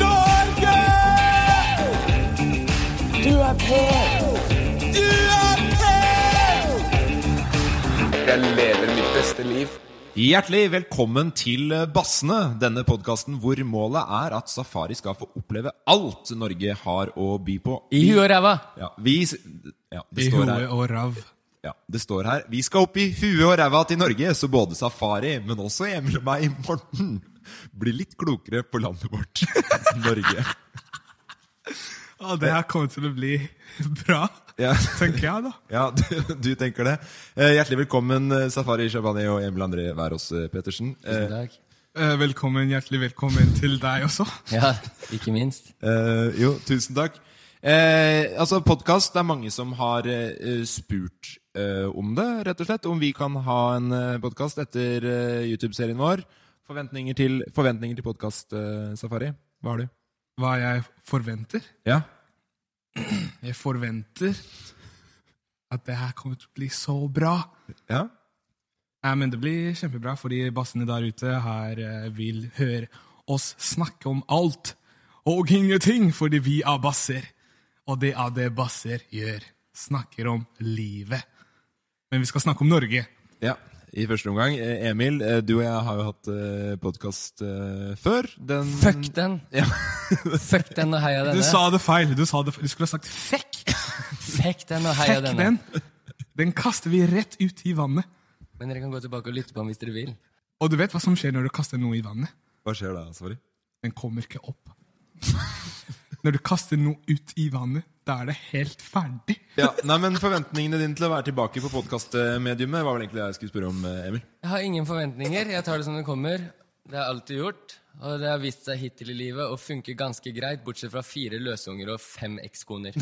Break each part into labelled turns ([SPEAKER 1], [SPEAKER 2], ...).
[SPEAKER 1] Norge! Du er på! Du er på!
[SPEAKER 2] Jeg lever mitt beste liv.
[SPEAKER 3] Hjertelig velkommen til eh, Bassene, denne podkasten hvor målet er at Safari skal få oppleve alt Norge har å by på.
[SPEAKER 4] I huet og ræva.
[SPEAKER 3] Ja, vi, ja, det
[SPEAKER 5] I
[SPEAKER 3] står her.
[SPEAKER 5] hodet og rav.
[SPEAKER 3] Ja, det står her. Vi skal opp i huet og ræva til Norge, så både Safari, men også Emil og meg, Morten, blir litt klokere på landet vårt, Norge.
[SPEAKER 5] Å, det her kommer til å bli bra,
[SPEAKER 3] Ja.
[SPEAKER 5] tenker jeg da.
[SPEAKER 3] Ja, du, du tenker det. Eh, Hjertelig velkommen, eh, Safari Shabani og Emil André Wærås eh, Pettersen. Eh,
[SPEAKER 4] Takk.
[SPEAKER 5] Eh, Velkommen, hjertelig velkommen til deg også.
[SPEAKER 4] Ja, ikke minst.
[SPEAKER 3] Eh, jo, tusen takk. Eh, altså, podkast Det er mange som har eh, spurt eh, om det, rett og slett. Om vi kan ha en eh, podkast etter eh, YouTube-serien vår. Forventninger til, forventninger til podkast-safari. Hva har du?
[SPEAKER 5] Hva jeg forventer?
[SPEAKER 3] Ja.
[SPEAKER 5] Jeg forventer at det her kommer til å bli så bra.
[SPEAKER 3] ja?
[SPEAKER 5] Nei, men det blir kjempebra, fordi bassene der ute her eh, vil høre oss snakke om alt og ingenting, fordi vi er basser. Og det er det basser gjør. Snakker om livet. Men vi skal snakke om Norge.
[SPEAKER 3] Ja. I første omgang. eh, Emil, eh, du og jeg har jo hatt eh, podkast eh, før. Den
[SPEAKER 4] Fuck den!
[SPEAKER 3] Ja.
[SPEAKER 4] Fuck den og heia
[SPEAKER 5] Du
[SPEAKER 4] denne.
[SPEAKER 5] sa det feil. Du, sa det, feil. du skulle ha sagt fuck!
[SPEAKER 4] Fuck den og heia
[SPEAKER 5] Fuck
[SPEAKER 4] denne.
[SPEAKER 5] den! Den kaster vi rett ut i vannet.
[SPEAKER 4] Men dere kan gå tilbake og lytte på den hvis dere vil.
[SPEAKER 5] Og du vet hva som skjer når du kaster noe i vannet?
[SPEAKER 3] Hva skjer da, Safari?
[SPEAKER 5] Den kommer ikke opp. Når du kaster noe ut i vannet, da er det helt ferdig.
[SPEAKER 3] Ja, nei, men Forventningene dine til å være tilbake på podkastmediumet var vel egentlig det jeg skulle spørre om, eh, Emil.
[SPEAKER 4] Jeg har ingen forventninger. Jeg tar det som det kommer. Det har jeg alltid gjort. Og det har vist seg hittil i livet å funke ganske greit, bortsett fra fire løsunger og fem ekskoner.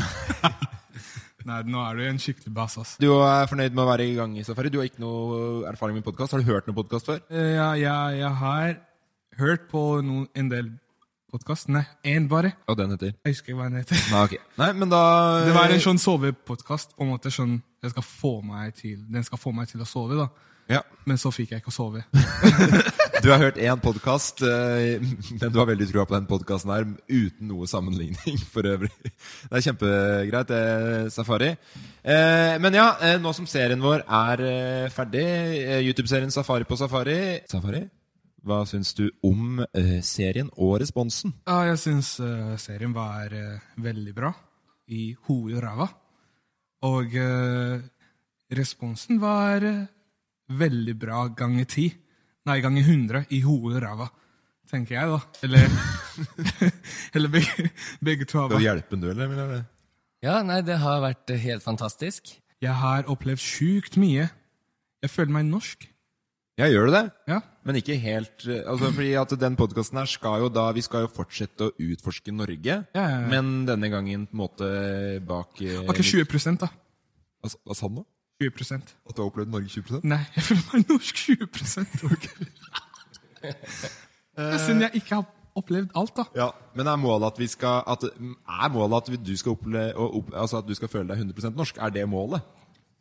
[SPEAKER 5] Nei, nå er du en skikkelig bass, ass.
[SPEAKER 3] Du er fornøyd med å være i gang i Safari. Du har ikke noe erfaring med podkast. Har du hørt noe podkast før?
[SPEAKER 5] Eh, Ja, jeg, jeg har hørt på noen, en del podkast. Nei, én bare.
[SPEAKER 3] Og den heter?
[SPEAKER 5] Jeg husker ikke hva den heter.
[SPEAKER 3] Nei, ok. Nei, men da eh,
[SPEAKER 5] Det var en sånn sovepodkast. På en måte sånn, jeg skal få meg til, den skal få meg til å sove, da.
[SPEAKER 3] ja.
[SPEAKER 5] Men så fikk jeg ikke sove.
[SPEAKER 3] Du har hørt én podkast, men du har veldig trua på den podkasten her uten noe sammenligning for øvrig. Det er kjempegreit, det, Safari. Eh, Men ja, eh, nå som serien vår er eh, ferdig, eh, YouTube-serien Safari på Safari Safari, hva syns du om eh, serien og responsen?
[SPEAKER 5] Ja, jeg syns eh, serien var eh, veldig bra. I hodet og ræva. Og eh, responsen var eh, veldig bra ganger ti. Nei, ganger 100 i hodet og ræva, tenker jeg, da. Eller, eller begge, begge to.
[SPEAKER 3] Skal du
[SPEAKER 5] Jeg,
[SPEAKER 3] hjelpe en du, eller? Emil, eller?
[SPEAKER 4] Ja, nei, det har vært eh, helt fantastisk.
[SPEAKER 5] jeg har opplevd sjukt mye. Jeg føler meg norsk.
[SPEAKER 3] Ja, gjør du det?
[SPEAKER 5] Ja.
[SPEAKER 3] Men ikke helt eh, altså fordi at den podkasten her skal jo da Vi skal jo fortsette å utforske Norge.
[SPEAKER 5] Ja, ja, ja.
[SPEAKER 3] Men denne gangen på en måte bak eh,
[SPEAKER 5] Var ikke 20 da.
[SPEAKER 3] Hva s- hva sa han nå?
[SPEAKER 5] 20
[SPEAKER 3] At du har opplevd Norge 20
[SPEAKER 5] Nei, jeg føler meg norsk 20 Det er synd jeg ikke har opplevd alt, da.
[SPEAKER 3] Ja, Men er målet at, vi skal, at, er målet at, du, skal opple- og opp, altså at du skal føle deg 100 norsk? Er det målet?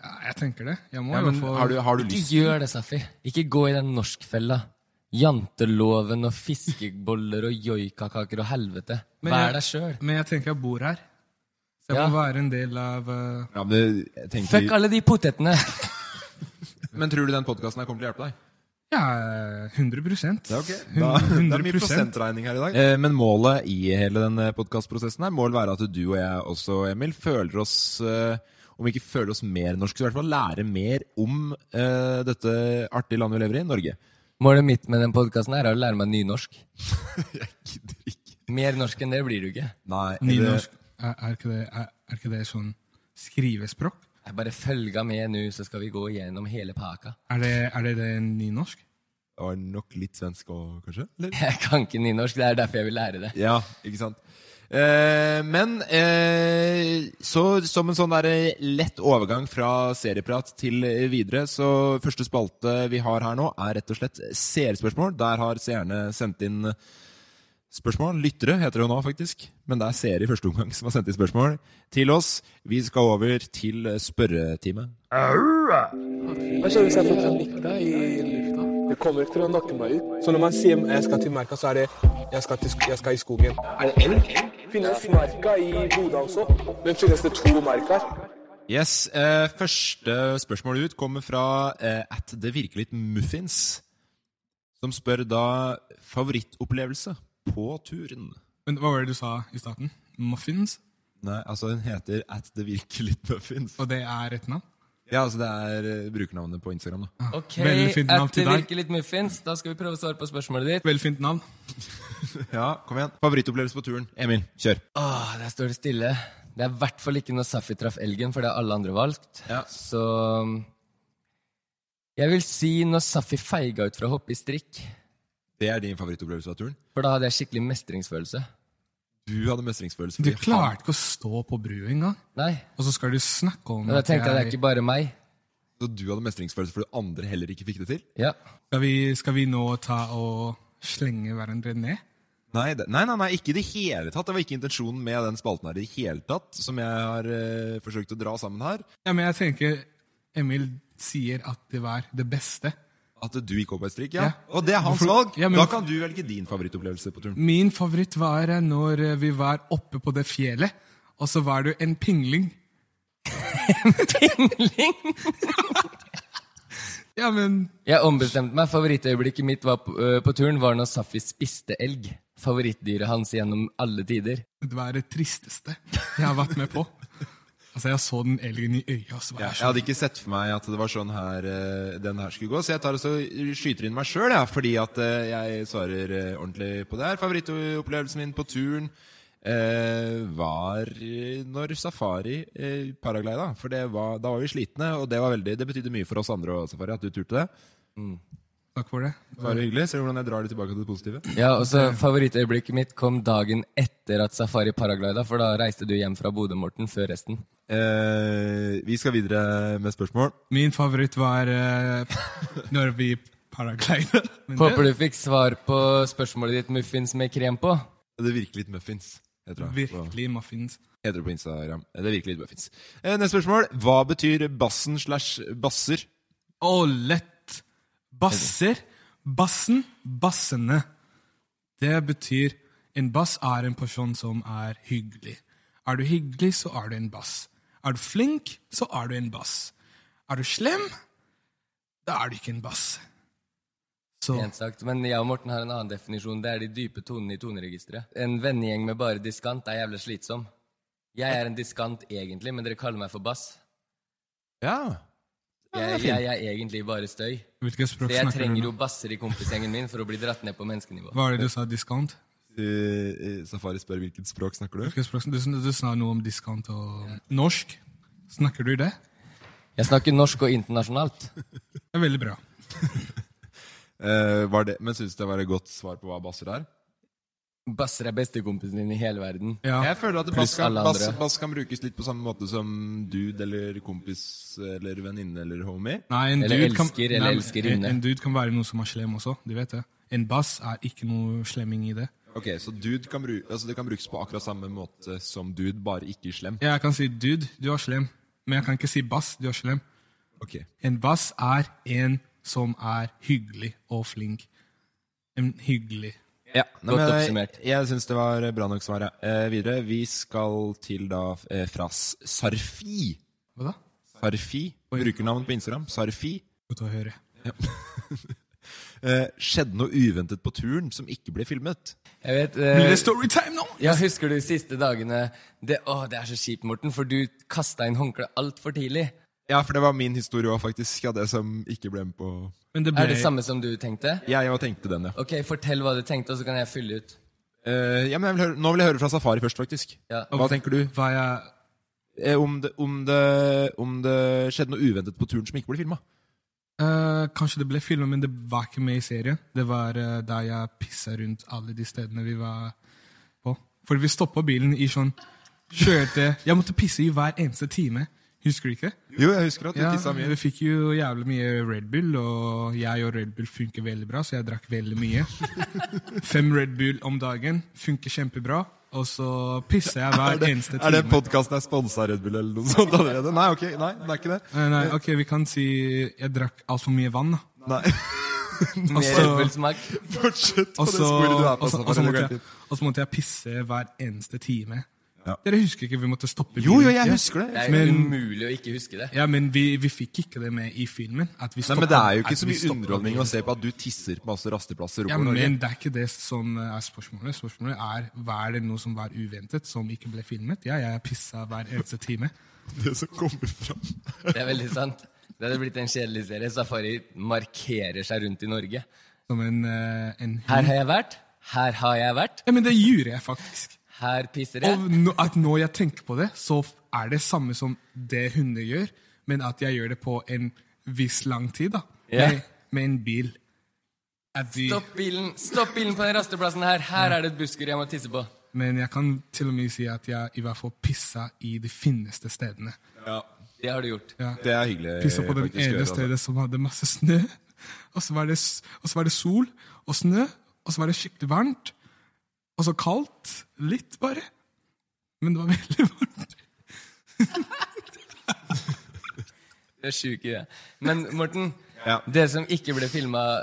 [SPEAKER 5] Ja, jeg tenker det. Jeg må
[SPEAKER 3] Ja,
[SPEAKER 5] jo
[SPEAKER 3] men
[SPEAKER 5] få
[SPEAKER 3] har du, har du lyst?
[SPEAKER 4] Ikke gjør er det, Safi. Ikke gå i den norskfella. Janteloven og fiskeboller og joikakaker og helvete.
[SPEAKER 5] Men
[SPEAKER 4] Vær
[SPEAKER 5] jeg-
[SPEAKER 4] deg sjøl.
[SPEAKER 5] Men jeg tenker jeg bor her. Så jeg
[SPEAKER 4] Ja.
[SPEAKER 5] må være en del av eh,
[SPEAKER 3] Ja, men, jeg tenker-
[SPEAKER 4] Fuck alle de potetene!
[SPEAKER 3] men tror du den podkasten kommer til å hjelpe deg?
[SPEAKER 5] Ja, 100
[SPEAKER 3] Det er ok. Da, det er mye prosentregning her i dag. Eh, men målet i hele den podkastprosessen må vel være at du og jeg også, Emil, føler oss eh, om vi ikke føler oss mer norsk, så i hvert fall lære mer om eh, dette artige landet vi lever i, Norge.
[SPEAKER 4] Målet mitt med den podkasten er å lære meg nynorsk. jeg gidder ikke. Mer norsk enn det blir du ikke.
[SPEAKER 3] Nei,
[SPEAKER 5] Nynorsk. Er, er, ikke det, er, er ikke det sånn skrivespråk?
[SPEAKER 4] Jeg bare følger med nå, så skal vi gå gjennom hele pakka.
[SPEAKER 5] Er det, er det, det nynorsk?
[SPEAKER 3] Det var nok litt svensk òg, kanskje? Eller?
[SPEAKER 4] Jeg kan ikke nynorsk, det er derfor jeg vil lære det.
[SPEAKER 3] Ja, ikke sant. Eh, men eh, så som en sånn der eh, lett overgang fra serieprat til eh, videre, så første spalte vi har her nå, er rett og slett seerspørsmål. Der har seerne sendt inn spørsmål. Lyttere heter det jo nå, faktisk. Men det er seere i første omgang som har sendt inn spørsmål til oss. Vi skal over til eh, spørretime.
[SPEAKER 6] Hva skjer hvis jeg får en lykta i lufta? Det kommer ikke til å nakke meg ut. Så når man sier jeg skal til merka, så er det jeg skal, til, jeg skal i skogen. Er det elg? Finnes merka i Bodø også? Men finnes det to merker?
[SPEAKER 3] Yes, eh, Første spørsmål ut kommer fra eh, at det virker litt muffins, som spør da favorittopplevelse på turen.
[SPEAKER 5] Men Hva var det du sa i starten? Muffins?
[SPEAKER 3] Nei, altså Hun heter at det virker litt muffins.
[SPEAKER 5] Og det er et navn?
[SPEAKER 3] Ja, altså Det er eh, brukernavnet på Instagram. da.
[SPEAKER 4] Ok,
[SPEAKER 5] Ah, Veldig fint navn
[SPEAKER 4] at
[SPEAKER 5] til
[SPEAKER 4] det
[SPEAKER 5] deg.
[SPEAKER 4] virker litt muffins. Da skal vi prøve å svare på spørsmålet ditt.
[SPEAKER 5] Veldig fint navn.
[SPEAKER 3] Ja, kom igjen. Favorittopplevelse på turen. Emil, kjør.
[SPEAKER 4] Åh, Ah, der står det stille. Det er i hvert fall ikke når Safi traff elgen, for det har alle andre valgt.
[SPEAKER 3] Ja.
[SPEAKER 4] Så um, Jeg vil si når Safi feiga ut fra å hoppe i strikk.
[SPEAKER 3] Det er din favorittopplevelse av turen?
[SPEAKER 4] For da hadde jeg skikkelig mestringsfølelse.
[SPEAKER 3] Du hadde mestringsfølelse.
[SPEAKER 5] Du
[SPEAKER 3] fordi han-
[SPEAKER 5] klarte ikke å stå på brua engang.
[SPEAKER 4] Nei.
[SPEAKER 5] Og så skal du snakke om
[SPEAKER 4] Og da tenkte jeg det er ikke bare meg.
[SPEAKER 3] Så du hadde mestringsfølelse fordi andre heller ikke fikk det til?
[SPEAKER 4] Ja.
[SPEAKER 5] skal, vi, skal vi nå ta og slenge hverandre ned?
[SPEAKER 3] Nei, det, nei, nei, nei, ikke i det hele tatt. Det var ikke intensjonen med den spalten her i det hele tatt, som jeg har eh, forsøkt å dra sammen her.
[SPEAKER 5] Ja, men jeg tenker Emil sier at det var det beste.
[SPEAKER 3] At du gikk opp et strikk, ja.
[SPEAKER 5] Ja.
[SPEAKER 3] Og det er hans
[SPEAKER 5] Hvorfor-
[SPEAKER 3] valg.
[SPEAKER 5] Ja, men-
[SPEAKER 3] Da kan du velge din favorittopplevelse på turen.
[SPEAKER 5] Min favoritt var eh, når eh, vi var oppe på det fjellet, og så var du en pingling.
[SPEAKER 4] Pingling!
[SPEAKER 5] Ja, men
[SPEAKER 4] Jeg ombestemte meg. Favorittøyeblikket mitt var på, øh, på turen var når Safi spiste elg. Favorittdyret hans gjennom alle tider.
[SPEAKER 5] det var det tristeste jeg har vært med på. Altså, jeg så den elgen i øyet, og så var
[SPEAKER 3] Ja,
[SPEAKER 5] jeg
[SPEAKER 3] jeg hadde ikke sett for meg at det var sånn her eh, den her skulle gå, så jeg tar og så skyter inn meg sjøl, ja, fordi at eh, jeg svarer eh, ordentlig på det her. Favorittopplevelsen min på turen eh, var eh, når safari eh, paraglida. For det var, da var vi slitne, og det, var veldig, det betydde mye for oss andre og safari at du turte det.
[SPEAKER 5] Takk for det.
[SPEAKER 3] Det var hyggelig. Ser du hvordan jeg drar det tilbake til det positive?
[SPEAKER 4] Ja, og så Favorittøyeblikket mitt kom dagen etter at Safari paraglida, for da reiste du hjem fra Bodø, Morten, før resten.
[SPEAKER 3] Eh, vi skal videre med spørsmål.
[SPEAKER 5] Min favoritt var eh, når vi paraglidet. Men det-
[SPEAKER 4] Håper du fikk svar på spørsmålet ditt, muffins med krem på.
[SPEAKER 3] Det virker litt muffins. heter det.
[SPEAKER 5] Virkelig muffins.
[SPEAKER 3] Heter det på Instagram. Det er virkelig muffins. Eh, Neste spørsmål. Hva betyr bassen slash basser?
[SPEAKER 5] Og lett. Basser. Bassen. Bassene. Det betyr En bass er en person som er hyggelig. Er du hyggelig, så er du en bass. Er du flink, så er du en bass. Er du slem, da er du ikke en bass. Så
[SPEAKER 4] Pent sagt. Men jeg og Morten har en annen definisjon. Det er de dype tonene i toneregisteret. En vennegjeng med bare diskant er jævlig slitsom. Jeg er en diskant egentlig, men dere kaller meg for bass.
[SPEAKER 3] Ja.
[SPEAKER 4] Jeg, jeg er egentlig bare støy.
[SPEAKER 5] hvilket
[SPEAKER 4] Så
[SPEAKER 5] språk
[SPEAKER 4] jeg
[SPEAKER 5] snakker
[SPEAKER 4] trenger
[SPEAKER 5] du
[SPEAKER 4] jo
[SPEAKER 5] nå?
[SPEAKER 4] basser i kompisgjengen min for å bli dratt ned på menneskenivå.
[SPEAKER 5] Hva er det du sa? Diskant?
[SPEAKER 3] Eh, eh, Safari spør hvilket språk snakker du?
[SPEAKER 5] Hvilket språk? Du, sn- du sa noe om diskant og Norsk? Snakker du det?
[SPEAKER 4] Jeg snakker norsk og internasjonalt.
[SPEAKER 5] Det er veldig bra.
[SPEAKER 3] Eh, var det, men syns det var et godt svar på hva basser er?
[SPEAKER 4] Basser er bestekompisen din i hele verden.
[SPEAKER 5] Ja.
[SPEAKER 3] Jeg føler at bass
[SPEAKER 4] Pluss
[SPEAKER 3] kan,
[SPEAKER 4] alle
[SPEAKER 3] bass,
[SPEAKER 4] andre.
[SPEAKER 3] bass kan brukes litt på samme måte som dude eller kompis eller venninne eller homie.
[SPEAKER 5] Nei, en
[SPEAKER 4] Eller
[SPEAKER 5] dude kan,
[SPEAKER 4] elsker, eller
[SPEAKER 5] nei, men
[SPEAKER 4] elskerinne.
[SPEAKER 5] En, en dude kan være noen som er slem også. Du vet det. En bass er ikke noe slemming i det.
[SPEAKER 3] Ok, Så dude kan, bru altså det kan brukes på akkurat samme måte som dude, bare ikke slem?
[SPEAKER 5] Jeg kan si 'dude, du er slem', men jeg kan ikke si 'bass, du er slem'.
[SPEAKER 3] Ok.
[SPEAKER 5] En bass er en som er hyggelig og flink. En hyggelig
[SPEAKER 3] Ja, nei, men Jeg, jeg syns det var bra nok svar. ja. Eh, videre, vi skal til da eh, fra S- Sarfi.
[SPEAKER 5] Hva da?
[SPEAKER 3] Sarfi. Brukernavn på Instagram. Sarfi.
[SPEAKER 5] Godt å høre.
[SPEAKER 3] Ja. eh, skjedde noe uventet på turen som ikke ble filmet?
[SPEAKER 4] Jeg vet
[SPEAKER 5] Blir det storytime nå?
[SPEAKER 4] Ja, Husker du siste dagene det, Å, det er så kjipt, Morten, for du kasta inn håndkleet altfor tidlig.
[SPEAKER 3] Ja, for det var min historie òg, faktisk. Ja, det som ikke ble med på
[SPEAKER 4] Men det ble- Er det samme som du tenkte?
[SPEAKER 3] Ja, jeg også tenkte den, ja.
[SPEAKER 4] Ok, Fortell hva du tenkte, og så kan jeg fylle ut.
[SPEAKER 3] Eh, ja men jeg vil høre, nå vil jeg høre fra Safari først, faktisk.
[SPEAKER 4] Ja.
[SPEAKER 3] Hva tenker du? Eh,
[SPEAKER 5] Hva jeg...
[SPEAKER 3] om, det, om, det, om det skjedde noe uventet på turen som ikke ble filma?
[SPEAKER 5] Eh, kanskje det ble filmet, men det var ikke med i serien. Det var eh, der jeg pissa rundt alle de stedene vi var på. For vi stoppa bilen i sånn Kjørte Jeg måtte pisse i hver eneste time. Husker du ikke?
[SPEAKER 3] Jo, jeg husker at du
[SPEAKER 5] ja,
[SPEAKER 3] tisset mye.
[SPEAKER 5] Vi fikk jo jævlig mye Red Bull, og jeg og Red Bull funker veldig bra, så jeg drakk veldig mye. Fem Red Bull om dagen funker kjempebra, og så pisser jeg
[SPEAKER 3] Er
[SPEAKER 5] hver
[SPEAKER 3] det,
[SPEAKER 5] eneste
[SPEAKER 3] er
[SPEAKER 5] time.
[SPEAKER 3] det podkasten er sponsa Red Bull eller noe sånt allerede? Nei, ok, nei, det er ikke det.
[SPEAKER 5] Nei, nei, ok, vi kan si jeg drakk altfor mye vann.
[SPEAKER 3] Nei.
[SPEAKER 4] Mer Red Bull-smak.
[SPEAKER 3] Fortsett på
[SPEAKER 5] og
[SPEAKER 3] det
[SPEAKER 5] så-
[SPEAKER 3] sporet du er på,
[SPEAKER 5] og så-
[SPEAKER 3] Safari,
[SPEAKER 5] og så
[SPEAKER 3] det
[SPEAKER 5] måtte
[SPEAKER 3] går
[SPEAKER 5] jeg-
[SPEAKER 3] fint.
[SPEAKER 5] Og så måtte jeg pisse hver eneste time. Dere husker ikke vi måtte stoppe
[SPEAKER 3] Jo, jo, jeg
[SPEAKER 5] Ja.
[SPEAKER 3] husker det.
[SPEAKER 4] Det er jo
[SPEAKER 5] Men,
[SPEAKER 4] umulig å ikke huske det.
[SPEAKER 5] ja, men vi, vi fikk ikke det med i filmen. At vi
[SPEAKER 3] Nei,
[SPEAKER 5] stoppet-
[SPEAKER 3] men Det er jo ikke
[SPEAKER 5] at
[SPEAKER 3] så
[SPEAKER 5] vi
[SPEAKER 3] mye
[SPEAKER 5] stoppet
[SPEAKER 3] underholdning
[SPEAKER 5] bilen.
[SPEAKER 3] å se på at du tisser på masse rasteplasser
[SPEAKER 5] Ja,
[SPEAKER 3] over Norge.
[SPEAKER 5] men Det er ikke det som er spørsmålet. Spørsmålet er hva er det noe som var uventet, som ikke ble filmet. Ja, jeg pissa hver eneste time.
[SPEAKER 3] Det som kommer fram.
[SPEAKER 4] Det er veldig sant. Det hadde blitt en kjedelig serie. Safari markerer seg rundt i Norge.
[SPEAKER 5] Som en, eh, en
[SPEAKER 4] Her har jeg vært. Her har jeg vært.
[SPEAKER 5] Ja, men det gjorde jeg faktisk.
[SPEAKER 4] Her pisser
[SPEAKER 5] Og
[SPEAKER 4] jeg.
[SPEAKER 5] nå- at når jeg tenker på det, så f- er det samme som det hunder gjør, men at jeg gjør det på en viss lang tid, da.
[SPEAKER 4] Ja.
[SPEAKER 5] Med, med en bil. At de,
[SPEAKER 4] Stopp bilen Stopp bilen på den rasteplassen her. Her er det et busskur jeg må tisse på.
[SPEAKER 5] men jeg kan til og med si at jeg i hvert fall pissa i de fineste stedene.
[SPEAKER 4] Det har du gjort.
[SPEAKER 5] Ja.
[SPEAKER 3] Det er hyggelig.
[SPEAKER 5] Pissa på den
[SPEAKER 3] faktisk å gjøre,
[SPEAKER 5] ene
[SPEAKER 3] altså.
[SPEAKER 5] stedet som hadde masse snø, og så var det, s- og så var det sol og snø, og så var det skikkelig varmt, og så kaldt. Litt, bare. Men det var veldig varmt.
[SPEAKER 4] Du er sjuk i det. Men Morten,
[SPEAKER 3] Ja.
[SPEAKER 4] det som ikke ble filma,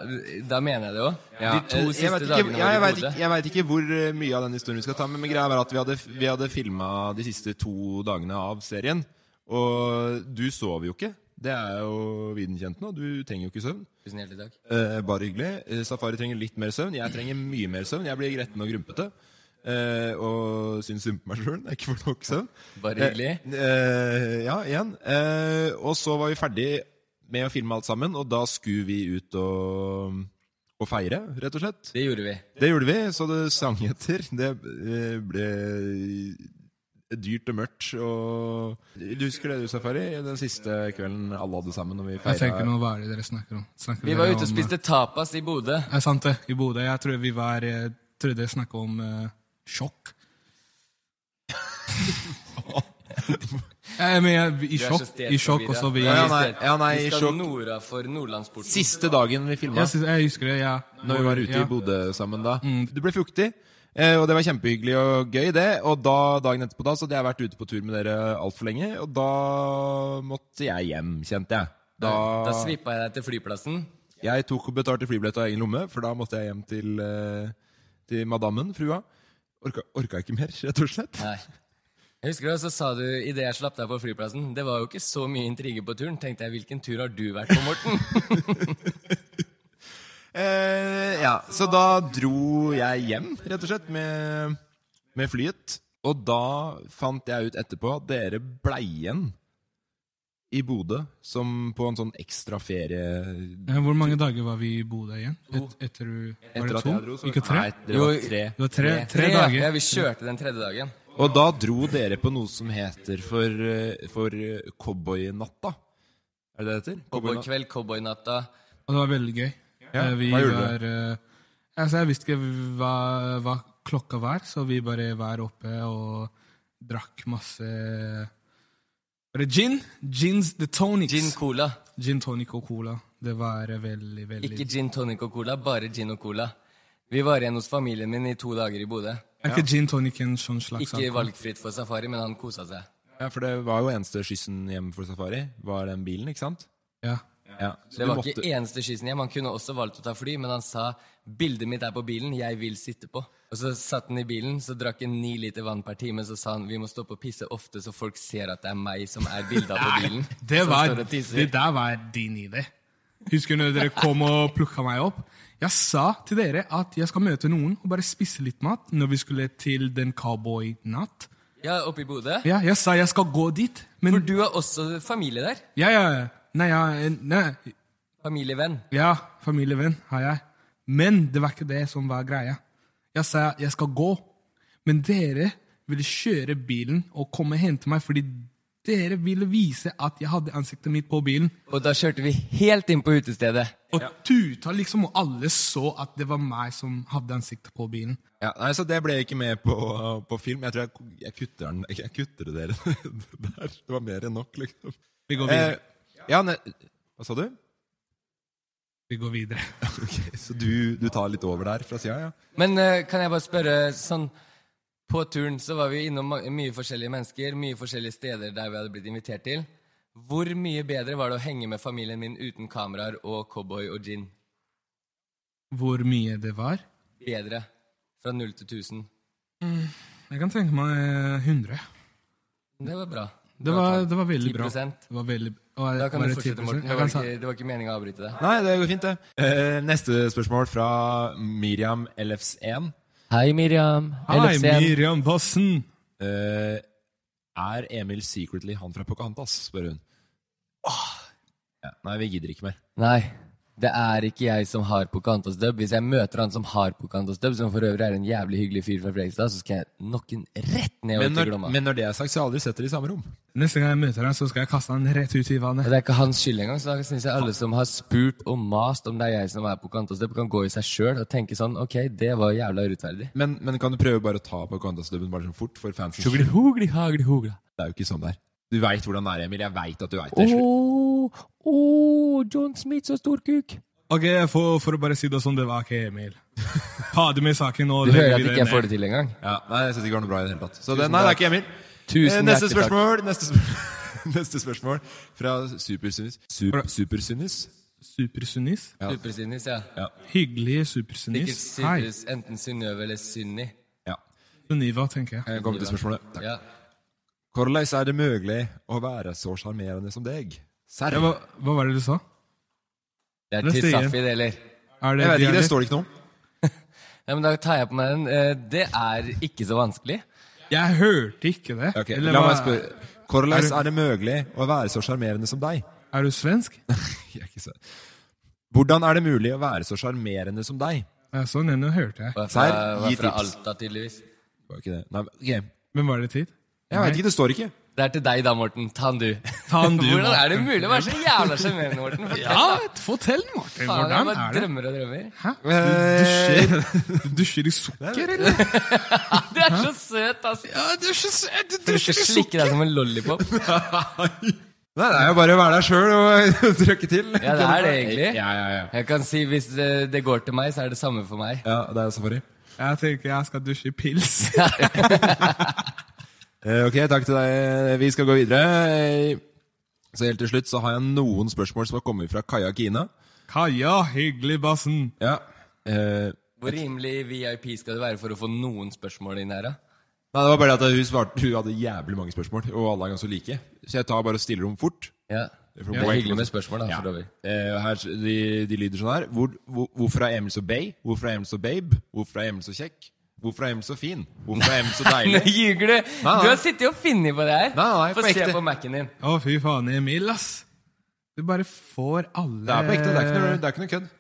[SPEAKER 4] da mener jeg det òg.
[SPEAKER 3] Ja.
[SPEAKER 4] De to
[SPEAKER 3] Eh, jeg vet
[SPEAKER 4] siste
[SPEAKER 3] ikke,
[SPEAKER 4] dagene
[SPEAKER 3] ja, jeg
[SPEAKER 4] var
[SPEAKER 3] vet
[SPEAKER 4] de
[SPEAKER 3] ikke,
[SPEAKER 4] gode.
[SPEAKER 3] jeg vet ikke hvor eh, mye av den historien vi skal ta med, men greia var at vi hadde, vi hadde filma de siste to dagene av serien. Og du sov jo ikke. Det er jo viden kjent nå. Du trenger jo ikke søvn.
[SPEAKER 4] Tusen hjertelig takk.
[SPEAKER 3] Eh, bare hyggelig. Eh, Safari trenger litt mer søvn. Jeg trenger mye mer søvn. Jeg blir gretten og grumpete. Eh, og syns synd på meg sjøl. Jeg ikke får nok søvn.
[SPEAKER 4] Bare hyggelig.
[SPEAKER 3] Eh, eh, ja, igjen. Eh, og så var vi ferdig med å filme alt sammen, og da skulle vi ut og, og feire, rett og slett.
[SPEAKER 4] Det gjorde vi.
[SPEAKER 3] Det gjorde vi, så det sang etter. Det eh, ble dyrt og mørkt. Og du husker det, du, Safari? Den siste kvelden alle hadde sammen. Når vi
[SPEAKER 5] Jeg tenker
[SPEAKER 3] feira
[SPEAKER 5] nå, hva er det dere snakker om? Snakker
[SPEAKER 4] Vi
[SPEAKER 5] dere
[SPEAKER 4] var ute
[SPEAKER 5] om,
[SPEAKER 4] og spiste tapas i Bodø.
[SPEAKER 5] eh, Er sant det, i Bodø. Jeg tror vi var eh, Tror dere snakka om eh, sjokk. jeg mener, i
[SPEAKER 4] Du er så
[SPEAKER 5] sjokk, i sjokk
[SPEAKER 4] stedforvirret.
[SPEAKER 5] også vi
[SPEAKER 3] Ja, ja, nei, ja, nei,
[SPEAKER 4] vi
[SPEAKER 3] sjokk.
[SPEAKER 4] skal norda for Nordlandsporten.
[SPEAKER 3] Siste dagen vi filma,
[SPEAKER 5] jeg, synes, jeg husker det, ja.
[SPEAKER 3] når vi var ute
[SPEAKER 5] ja.
[SPEAKER 3] i Bodø sammen da. Det Mm, ble fuktig. eh, Og det var kjempehyggelig og gøy, det. Og da, dagen etterpå da, så hadde jeg vært ute på tur med dere altfor lenge. Og da måtte jeg hjem, kjente jeg. Da,
[SPEAKER 4] Da svippa jeg deg til flyplassen.
[SPEAKER 3] Jeg tok og betalte flybillett av egen lomme, for da måtte jeg hjem til, eh, til madammen, frua. Orka, orka ikke mer, rett og slett.
[SPEAKER 4] Nei. Jeg husker det, og så sa du idet jeg slapp deg på flyplassen Det var jo ikke så mye intriger på turen. Tenkte jeg, hvilken tur har du vært på, Morten?
[SPEAKER 3] Eh, ja, så da dro jeg hjem, rett og slett, med, med flyet. Og da fant jeg ut etterpå at dere blei igjen i Bodø, som på en sånn ekstra ferie
[SPEAKER 5] Ja, Hvor mange dager var vi i Bodø igjen? Et, etter du- var
[SPEAKER 3] Etter
[SPEAKER 5] det
[SPEAKER 3] at
[SPEAKER 5] to?
[SPEAKER 3] jeg dro, så-
[SPEAKER 5] Ikke tre?
[SPEAKER 3] Nei, det var
[SPEAKER 4] Jo,
[SPEAKER 3] tre.
[SPEAKER 5] Det var tre, tre,
[SPEAKER 4] ja.
[SPEAKER 5] dager.
[SPEAKER 4] Ja, vi kjørte den tredje dagen.
[SPEAKER 3] Og da dro dere på noe som heter for, eh, for eh, cowboynatta. Er det det heter? Cowboynatta.
[SPEAKER 4] Cowboykveld, cowboynatta.
[SPEAKER 5] Og det var veldig gøy.
[SPEAKER 3] Ja,
[SPEAKER 5] Eh, vi
[SPEAKER 3] hva gjorde
[SPEAKER 5] var, eh, altså jeg visste ikke hva, hva klokka var, så vi bare var oppe og drakk masse Var det gin? Gins, the tonics.
[SPEAKER 4] Gin cola.
[SPEAKER 5] Gin tonic og cola. Det var veldig, veldig
[SPEAKER 4] Ikke gin tonic og cola, bare gin og cola. Vi var igjen hos familien min i to dager i Bodø.
[SPEAKER 5] Er ikke gin tonic en sånn slags
[SPEAKER 4] Ikke valgfritt for safari, men han kosa seg.
[SPEAKER 3] Ja, For det var jo eneste skyssen hjem for safari, var den bilen, ikke sant?
[SPEAKER 5] Ja.
[SPEAKER 3] ja.
[SPEAKER 4] det var ikke eneste skyssen hjem. Han kunne også valgt å ta fly, men han sa 'bildet mitt er på bilen, jeg vil sitte på'. Og så satt han i bilen, så drakk han ni liter vann per time, så sa han 'vi må stoppe og pisse ofte, så folk ser at det er meg som er bildet på bilen'.
[SPEAKER 5] Det,
[SPEAKER 4] som
[SPEAKER 5] var,
[SPEAKER 4] står og tisser.
[SPEAKER 5] det der var din idé. Husker du når dere kom og plukka meg opp? Jeg sa til dere at jeg skal møte noen og bare spise litt mat når vi skulle til den cowboy-natt.
[SPEAKER 4] Ja, oppe i Bodø.
[SPEAKER 5] Ja, jeg sa jeg skal gå dit, men
[SPEAKER 4] For du har også familie der?
[SPEAKER 5] Ja, ja, ja. Nei, ja, eh, nei.
[SPEAKER 4] Familievenn?
[SPEAKER 5] Ja, familievenn har jeg. Men det var ikke det som var greia. Jeg sa jeg skal gå, men dere ville kjøre bilen og komme og hente meg fordi dere ville vise at jeg hadde ansiktet mitt på bilen.
[SPEAKER 4] Og da kjørte vi helt inn på utestedet.
[SPEAKER 5] Og tuta liksom, og alle så at det var meg som hadde ansiktet på bilen.
[SPEAKER 3] Ja, nei, så det ble jeg ikke med på, på film. Jeg tror jeg, jeg kutter den Jeg kutter det dere der. Det var mer enn nok, liksom.
[SPEAKER 5] Vi går videre.
[SPEAKER 3] Eh, ja, ne, hva sa du?
[SPEAKER 5] Vi går videre.
[SPEAKER 3] Ok, så du, du tar litt over der fra sida, ja?
[SPEAKER 4] Men eh, kan jeg bare spørre sånn På turen så var vi innom ma- mye forskjellige mennesker, mye forskjellige steder der vi hadde blitt invitert til. Hvor mye bedre var det å henge med familien min uten kameraer og cowboy og gin?
[SPEAKER 5] Hvor mye det var?
[SPEAKER 4] Bedre. Fra null til 1000.
[SPEAKER 5] Mm, Jeg kan tenke meg eh, 100.
[SPEAKER 4] Det var bra.
[SPEAKER 5] Det var, det var veldig bra.
[SPEAKER 4] 10%.
[SPEAKER 5] Det var veldig, var,
[SPEAKER 4] Da kan
[SPEAKER 5] var
[SPEAKER 4] du
[SPEAKER 5] det
[SPEAKER 4] fortsette,
[SPEAKER 5] 10%?
[SPEAKER 4] Morten. Det
[SPEAKER 5] Jeg
[SPEAKER 4] var
[SPEAKER 5] kan sa-
[SPEAKER 4] ikke, det var ikke meningen å avbryte deg.
[SPEAKER 3] Nei, det går fint, det. Eh, neste spørsmål fra Miriam LFS1.
[SPEAKER 4] Hei, Miriam.
[SPEAKER 3] Hei,
[SPEAKER 4] LFC.
[SPEAKER 5] Miriam Bassen.
[SPEAKER 3] Eh, er Emil secretly han fra Pocahontas, spør hun. Åh. Ja, nei, vi gidder ikke mer.
[SPEAKER 4] Nei, det er ikke jeg som har Pocahontas dub. Hvis jeg møter han som har Pocahontas dub, som for øvrig er en jævlig hyggelig fyr fra Fredrikstad, så skal jeg knocke han rett ned over
[SPEAKER 3] Men
[SPEAKER 4] til
[SPEAKER 3] når,
[SPEAKER 4] Glomma.
[SPEAKER 3] men når det er sagt, så har jeg aldri sett dere i samme rom.
[SPEAKER 5] Neste gang jeg møter han, så skal jeg kaste han rett ut i vannet.
[SPEAKER 4] Og det er ikke hans skyld engang, så da syns jeg alle som har spurt og mast om det er jeg som er Pocahontas dub, kan gå i seg sjøl og tenke sånn Ok, det var jævla urettferdig.
[SPEAKER 3] Men, men kan du prøve bare å ta Pocahontas-dubben bare sånn fort for fansens
[SPEAKER 4] Sjugli
[SPEAKER 3] skyld?
[SPEAKER 4] hugli hagli hugla.
[SPEAKER 3] Det er jo ikke sånn det er. Du veit hvordan det er, Emil. Jeg veit at du veit det.
[SPEAKER 4] Åh, John Smith, så stor kuk.
[SPEAKER 5] Ok, for, for å bare si det sånn, det var ikke Emil. Ta det med i saken og
[SPEAKER 4] Du hører
[SPEAKER 5] legger
[SPEAKER 4] at
[SPEAKER 5] vi det
[SPEAKER 4] ikke jeg
[SPEAKER 5] ned.
[SPEAKER 4] får det til engang.
[SPEAKER 3] Ja, nei, jeg syns ikke det var noe bra i det hele tatt. Så
[SPEAKER 4] Tusen
[SPEAKER 3] det, nei, det er
[SPEAKER 4] takk.
[SPEAKER 3] ikke Emil.
[SPEAKER 4] Tusen
[SPEAKER 3] Eh, neste
[SPEAKER 4] hjertelig takk.
[SPEAKER 3] spørsmål, neste spørsmål, neste spørsmål fra Supersunnis. Sup, supersunnis?
[SPEAKER 5] Supersunnis?
[SPEAKER 3] Ja.
[SPEAKER 4] Supersynis, ja.
[SPEAKER 5] Hyggelig
[SPEAKER 4] Sikkert
[SPEAKER 5] supersunnis. Hei.
[SPEAKER 4] Sinnis, enten Synnøve eller Synni.
[SPEAKER 3] ja.
[SPEAKER 5] Sunniva, tenker jeg.
[SPEAKER 3] Jeg kommer til spørsmålet. Takk.
[SPEAKER 4] Ja.
[SPEAKER 3] Hvordan er det mulig å være så sjarmerende som deg? Serr?
[SPEAKER 5] Ja, hva, hva var det du sa?
[SPEAKER 4] Det er
[SPEAKER 5] Neste igjen.
[SPEAKER 4] Tisafi, det,
[SPEAKER 5] Er
[SPEAKER 4] eller?
[SPEAKER 3] Jeg vet ikke, det
[SPEAKER 5] dialekt?
[SPEAKER 3] står det ikke noe om.
[SPEAKER 4] Ja, men da tar jeg på meg den. Eh, Det er ikke så vanskelig.
[SPEAKER 5] Jeg hørte ikke det.
[SPEAKER 3] Ok,
[SPEAKER 5] Eller
[SPEAKER 3] la
[SPEAKER 5] hva-
[SPEAKER 3] meg spørre. Hvordan er det mulig å være så sjarmerende som deg?
[SPEAKER 5] Er du svensk?
[SPEAKER 3] Jeg er ikke så- Hvordan er det mulig å være så sjarmerende som deg?
[SPEAKER 5] Ja, sånn ennå hørte jeg.
[SPEAKER 4] Var fra,
[SPEAKER 3] Serr,
[SPEAKER 4] var
[SPEAKER 3] gi
[SPEAKER 4] fra
[SPEAKER 3] tips.
[SPEAKER 4] Alta, tydeligvis.
[SPEAKER 3] Det var ikke det. Nei, men, ok.
[SPEAKER 5] Men var det tid?
[SPEAKER 3] Jeg vet ikke, det står ikke.
[SPEAKER 4] Det er til deg da, Morten. Ta den du.
[SPEAKER 5] Ta den du,
[SPEAKER 4] Hvordan er det
[SPEAKER 5] Morten.
[SPEAKER 4] mulig å være så jævla sjarmerende, Morten? Fortell,
[SPEAKER 5] Ja,
[SPEAKER 4] da.
[SPEAKER 5] fortell, Martin.
[SPEAKER 4] Faen, jeg
[SPEAKER 5] Hvordan
[SPEAKER 4] bare
[SPEAKER 5] er det?
[SPEAKER 4] drømmer og drømmer.
[SPEAKER 5] Hæ? Du
[SPEAKER 4] Eh,
[SPEAKER 5] dusjer, du dusjer i sukker, eller?
[SPEAKER 4] Du er så søt, ass.
[SPEAKER 5] Ja, du dusjer, sø- du
[SPEAKER 4] Du skal
[SPEAKER 5] dusjer i
[SPEAKER 4] slikke
[SPEAKER 5] sukker!
[SPEAKER 4] deg som en lollipop.
[SPEAKER 3] Nei, det er jo bare å være deg sjøl og trykke til.
[SPEAKER 4] Ja, det er det egentlig.
[SPEAKER 3] Ja, ja, ja.
[SPEAKER 4] Jeg kan si hvis eh, det går til meg, så er det samme for meg.
[SPEAKER 3] Ja, det er safari.
[SPEAKER 5] Jeg tenker jeg skal dusje i pils.
[SPEAKER 3] Eh, ok, takk til deg. Eh, Vi skal gå videre. Eh, Så helt til slutt så har jeg noen spørsmål som har kommet fra Kaja Kine.
[SPEAKER 5] Kaja, hyggelig, bassen.
[SPEAKER 3] Ja. Eh,
[SPEAKER 4] Hvor rimelig VIP skal du være for å få noen spørsmål inn her, da?
[SPEAKER 3] nei, det var bare det at hun svarte Hun hadde jævlig mange spørsmål, og alle er ganske like. Så jeg tar bare og stiller dem fort.
[SPEAKER 4] Ja.
[SPEAKER 3] For
[SPEAKER 4] Det er hyggelig med spørsmål, da.
[SPEAKER 3] Ja.
[SPEAKER 4] for øvrig.
[SPEAKER 3] Eh, her, de, de lyder sånn her. Hvor, hvor, hvorfor er Emil så bay? Hvorfor er Emil så babe? Hvorfor er Emil så kjekk? Hvorfor er Emil så fin? Hvorfor er Emil så
[SPEAKER 4] Nå
[SPEAKER 3] deilig?
[SPEAKER 4] ljuger du! Du
[SPEAKER 3] Nei, nei.
[SPEAKER 4] har sittet og funnet på det her.
[SPEAKER 3] Nei, nei,
[SPEAKER 4] Få
[SPEAKER 3] på
[SPEAKER 4] se
[SPEAKER 3] ekte.
[SPEAKER 4] på Mac-en din.
[SPEAKER 5] Å, fy faen, Emil, ass. Du bare får alle
[SPEAKER 3] Det er på ekte, det er ikke noe, det er ikke noe kødd.